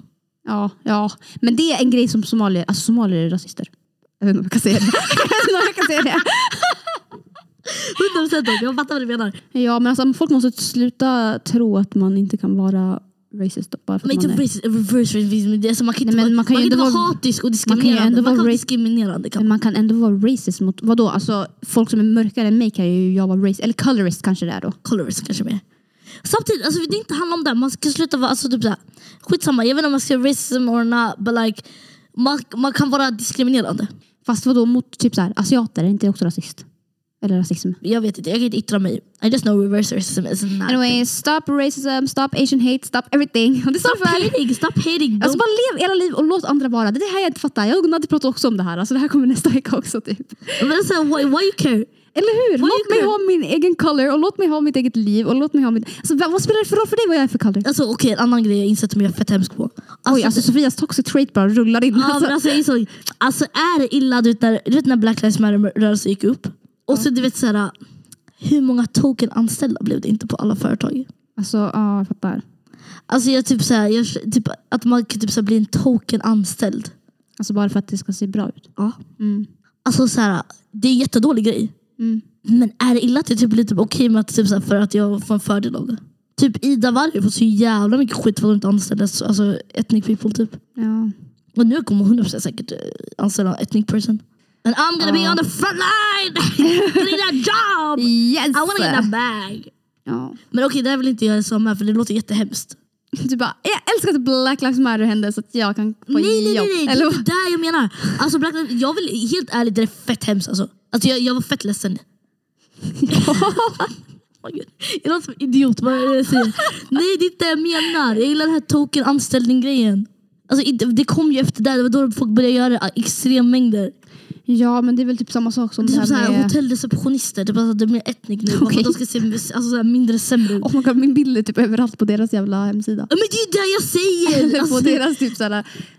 Ja, ja. Men det är en grej som somalier, alltså somalier är rasister. Jag vet inte om jag kan säga det. *laughs* Jag vet inte om jag kan säga det. 100 procent. Jag fattar vad du menar. Ja, men alltså, folk måste sluta tro att man inte kan vara racist bara för Men att inte man är... racist, reverse racism. Det är alltså, man kan inte Nej, men vara, man kan ju inte ändå vara vara- hatisk och man kan ju diskriminerande. ändå Man vara kan, vara ra- diskriminerande. Kan. Men man. man kan ändå vara racist mot, vadå? Alltså, folk som är mörkare än mig kan ju jag vara racist, eller colorist kanske det är då. Colorist kanske mer. Samtidigt, alltså, det inte handlar om det. Man ska sluta vara, alltså, typ såhär, skitsamma, jag vet inte om man ska racism or not, but like, man, man kan vara diskriminerande. Fast vadå mot typ så här, asiater, är inte det också rasist? Eller rasism? Jag vet inte, jag kan inte yttra mig. I just know reverse racism is not. Anyway, stop racism, stop asian hate, stop everything. Och det står Stop för... hating, stop hating. Alltså Don't- bara lev era liv och låt andra vara. Det är det här jag inte fattar. Jag och Nadja pratar också om det här. Alltså det här kommer nästa vecka också typ. Men alltså, why, why you care? Eller hur? Vad Låt gör mig du? ha min egen color och låt mig ha mitt eget liv. Och låt mig ha mitt... alltså, vad vad spelar det för roll för dig vad jag är för color? Alltså okej, en annan grej jag insett som jag är fett hemsk på. Alltså, Oj, alltså det- Sofias toxic trait bara rullar in. Ja, men alltså. alltså, jag insåg, alltså är det illa, du vet, när, du vet när Black Lives Matter-rörelsen gick upp? Och så du vet såhär, hur många token anställda blev det inte på alla företag? alltså, ja, jag fattar. Alltså jag typ såhär, jag, typ, att man kan typ såhär bli en token anställd. Alltså bara för att det ska se bra ut. Ja. Mm. Alltså såhär, det är en jättedålig grej. Mm. Men är det illa att jag typ blir typ okej med att typ såhär, för att jag får en fördel av det? Typ Ida Warg får så jävla mycket skit för att hon inte anställdes, alltså ethnic people typ. Ja. Och nu kommer hon 100% säkert eh, anställa en ethnic person. And I'm gonna be Ja. on the front line! *laughs* Getting *laughs* that job! Yes! I wanna get that bag! ja. Men okej, det här vill inte jag ens vara med för det låter jättehemskt. Du bara, jag älskar att Black Lives Matter hände så att jag kan få Nej, nej, jobb. nej, nej, det Eller är vad? inte där jag menar. Alltså, Black Lives, jag vill, helt ärligt, det är fett hemskt. Alltså. Alltså, jag, jag var fett *laughs* ledsen. Oh Åh, gud. Jag låter som en idiot. Vad är det jag säger? Nej, det är inte det jag menar. Jag gillar den här token anställning-grejen. Alltså, inte- det kom ju efter det. Det var då folk började göra det i extrem mängder. Ja, men det är väl typ samma sak som Det det, är som så här här, typ- med... hotellreceptionister. Det är, bara, att det är mer etnik nu. Okay. Okej. De ska se alltså, så här, mindre sämre ut. Oh my God, min bild är typ överallt på deras jävla hemsida. Ja, Men det är ju det jag säger! *laughs* Eller på Alltså, deras typ såhär...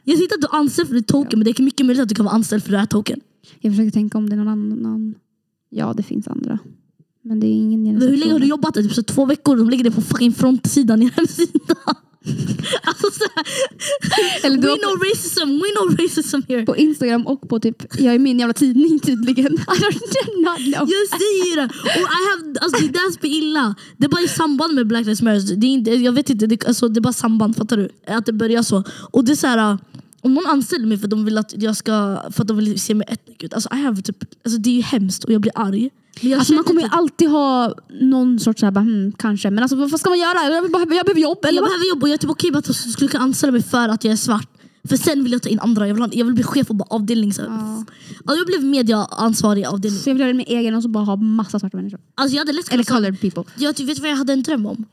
jag säger inte att du är anställd för ditt token, men det är mycket möjligt att du kan vara anställd för det här token. Jag försöker tänka om det är någon annan. Ja, det finns andra. Men det är ingen i Men hur länge har du receptionen. jobbat där? Typ så två veckor? De lägger det på fucking frontsidan i hemsidan. *laughs* Alltså, så här, Eller we du har på, know racism, we know racism *laughs* here. på Instagram och på typ, jag är min jävla tidning *laughs* tydligen. Alltså, I don't not know. Alltså, Jag säger det! Och I have, alltså, det är det som är illa. Det är bara i samband med Black Lives Matter. Det är inte, jag vet inte, det, alltså, det är bara samband, fattar du? Att det börjar så. Och det är så här, om någon anställer mig för att de vill att jag ska för att de vill se mig etnisk ut. Alltså, I have, typ, alltså, det är ju hemskt och jag blir arg. Men jag Alltså man känner kommer ju typ- alltid ha någon sorts såhär, bara, hmm, kanske. Men alltså vad vad ska man göra? Jag, vill bara, jag behöver jobb. Eller jag vad? behöver jobb och jag är typ okej med att de skulle kunna anställa mig för att jag är svart. För sen vill jag ta in andra, jag vill, ha- jag vill bli chef på bara avdelning. Så. Ja. Ja, jag blev mediaansvarig i avdelning. Så jag vill göra det med egen och så bara ha massa svarta människor. Alltså, jag hade lätt Eller Mm. kunnat starta- colored people. Jag ty- vet du vad jag hade en dröm om?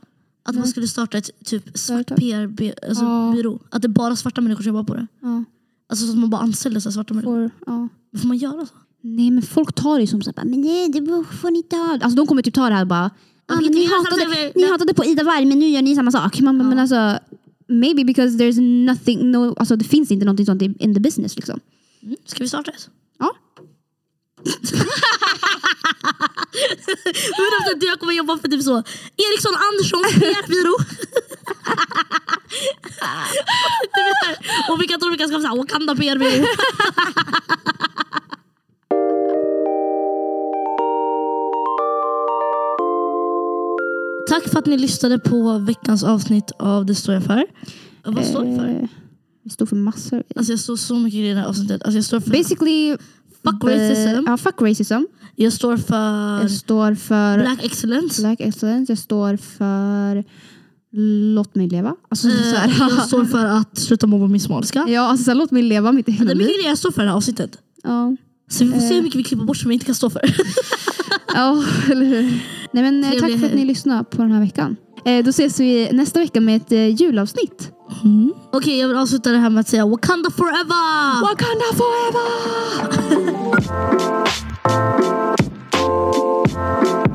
Att man skulle starta ett typ svart Företag. PR-byrå. Alltså, Ja. byrå. Att det är bara svarta människor som jobbar på det. Ja. Alltså så att man bara anställer så här svarta människor. Får, ja. Får man göra så? Nej men folk tar det som såhär, bara, men nej det får ni inte ha. Alltså de kommer typ ta det här och bara, ah, men hittar ni, ju samma hatade, sak. ni hatade på Ida Warg men nu gör ni samma sak. Man, bara, Men alltså, maybe because there's nothing, no, alltså det finns inte någonting sånt i- in the business liksom. Mm. Ska vi starta det? *laughs* Ja. Men efter att jag kommer jobba för typ så Eriksson Anderssons PR-byrå. Du vet så här, *laughs* och vilka tror vi kan skaffa så här, Wakanda PR-byrå. Tack för att ni lyssnade på veckans avsnitt av Det står jag för. Vad står jag för? Eh, Vi står för massor. Alltså jag står så mycket i det här avsnittet. Alltså jag står för Basically, fuck eh, racism. Ja, fuck racism. Jag står för Jag står för black excellence. Black excellence. Jag står för låt mig leva. Alltså, så Eh, här. *laughs* Jag står för att sluta mobba min somaliska. ja, alltså, så här, låt mig leva mitt Det egna är liv. mycket grejer jag står för i det här avsnittet. Ja. Så vi får Eh. se hur mycket vi klipper bort som jag inte kan stå för. *laughs* ja, eller hur? Nej, men, eh, tack Trevlig för att ni helg. lyssnade på den här veckan. Eh, då ses vi nästa vecka med ett eh, julavsnitt. Okej, jag vill avsluta det här med att säga Wakanda forever! Wakanda forever!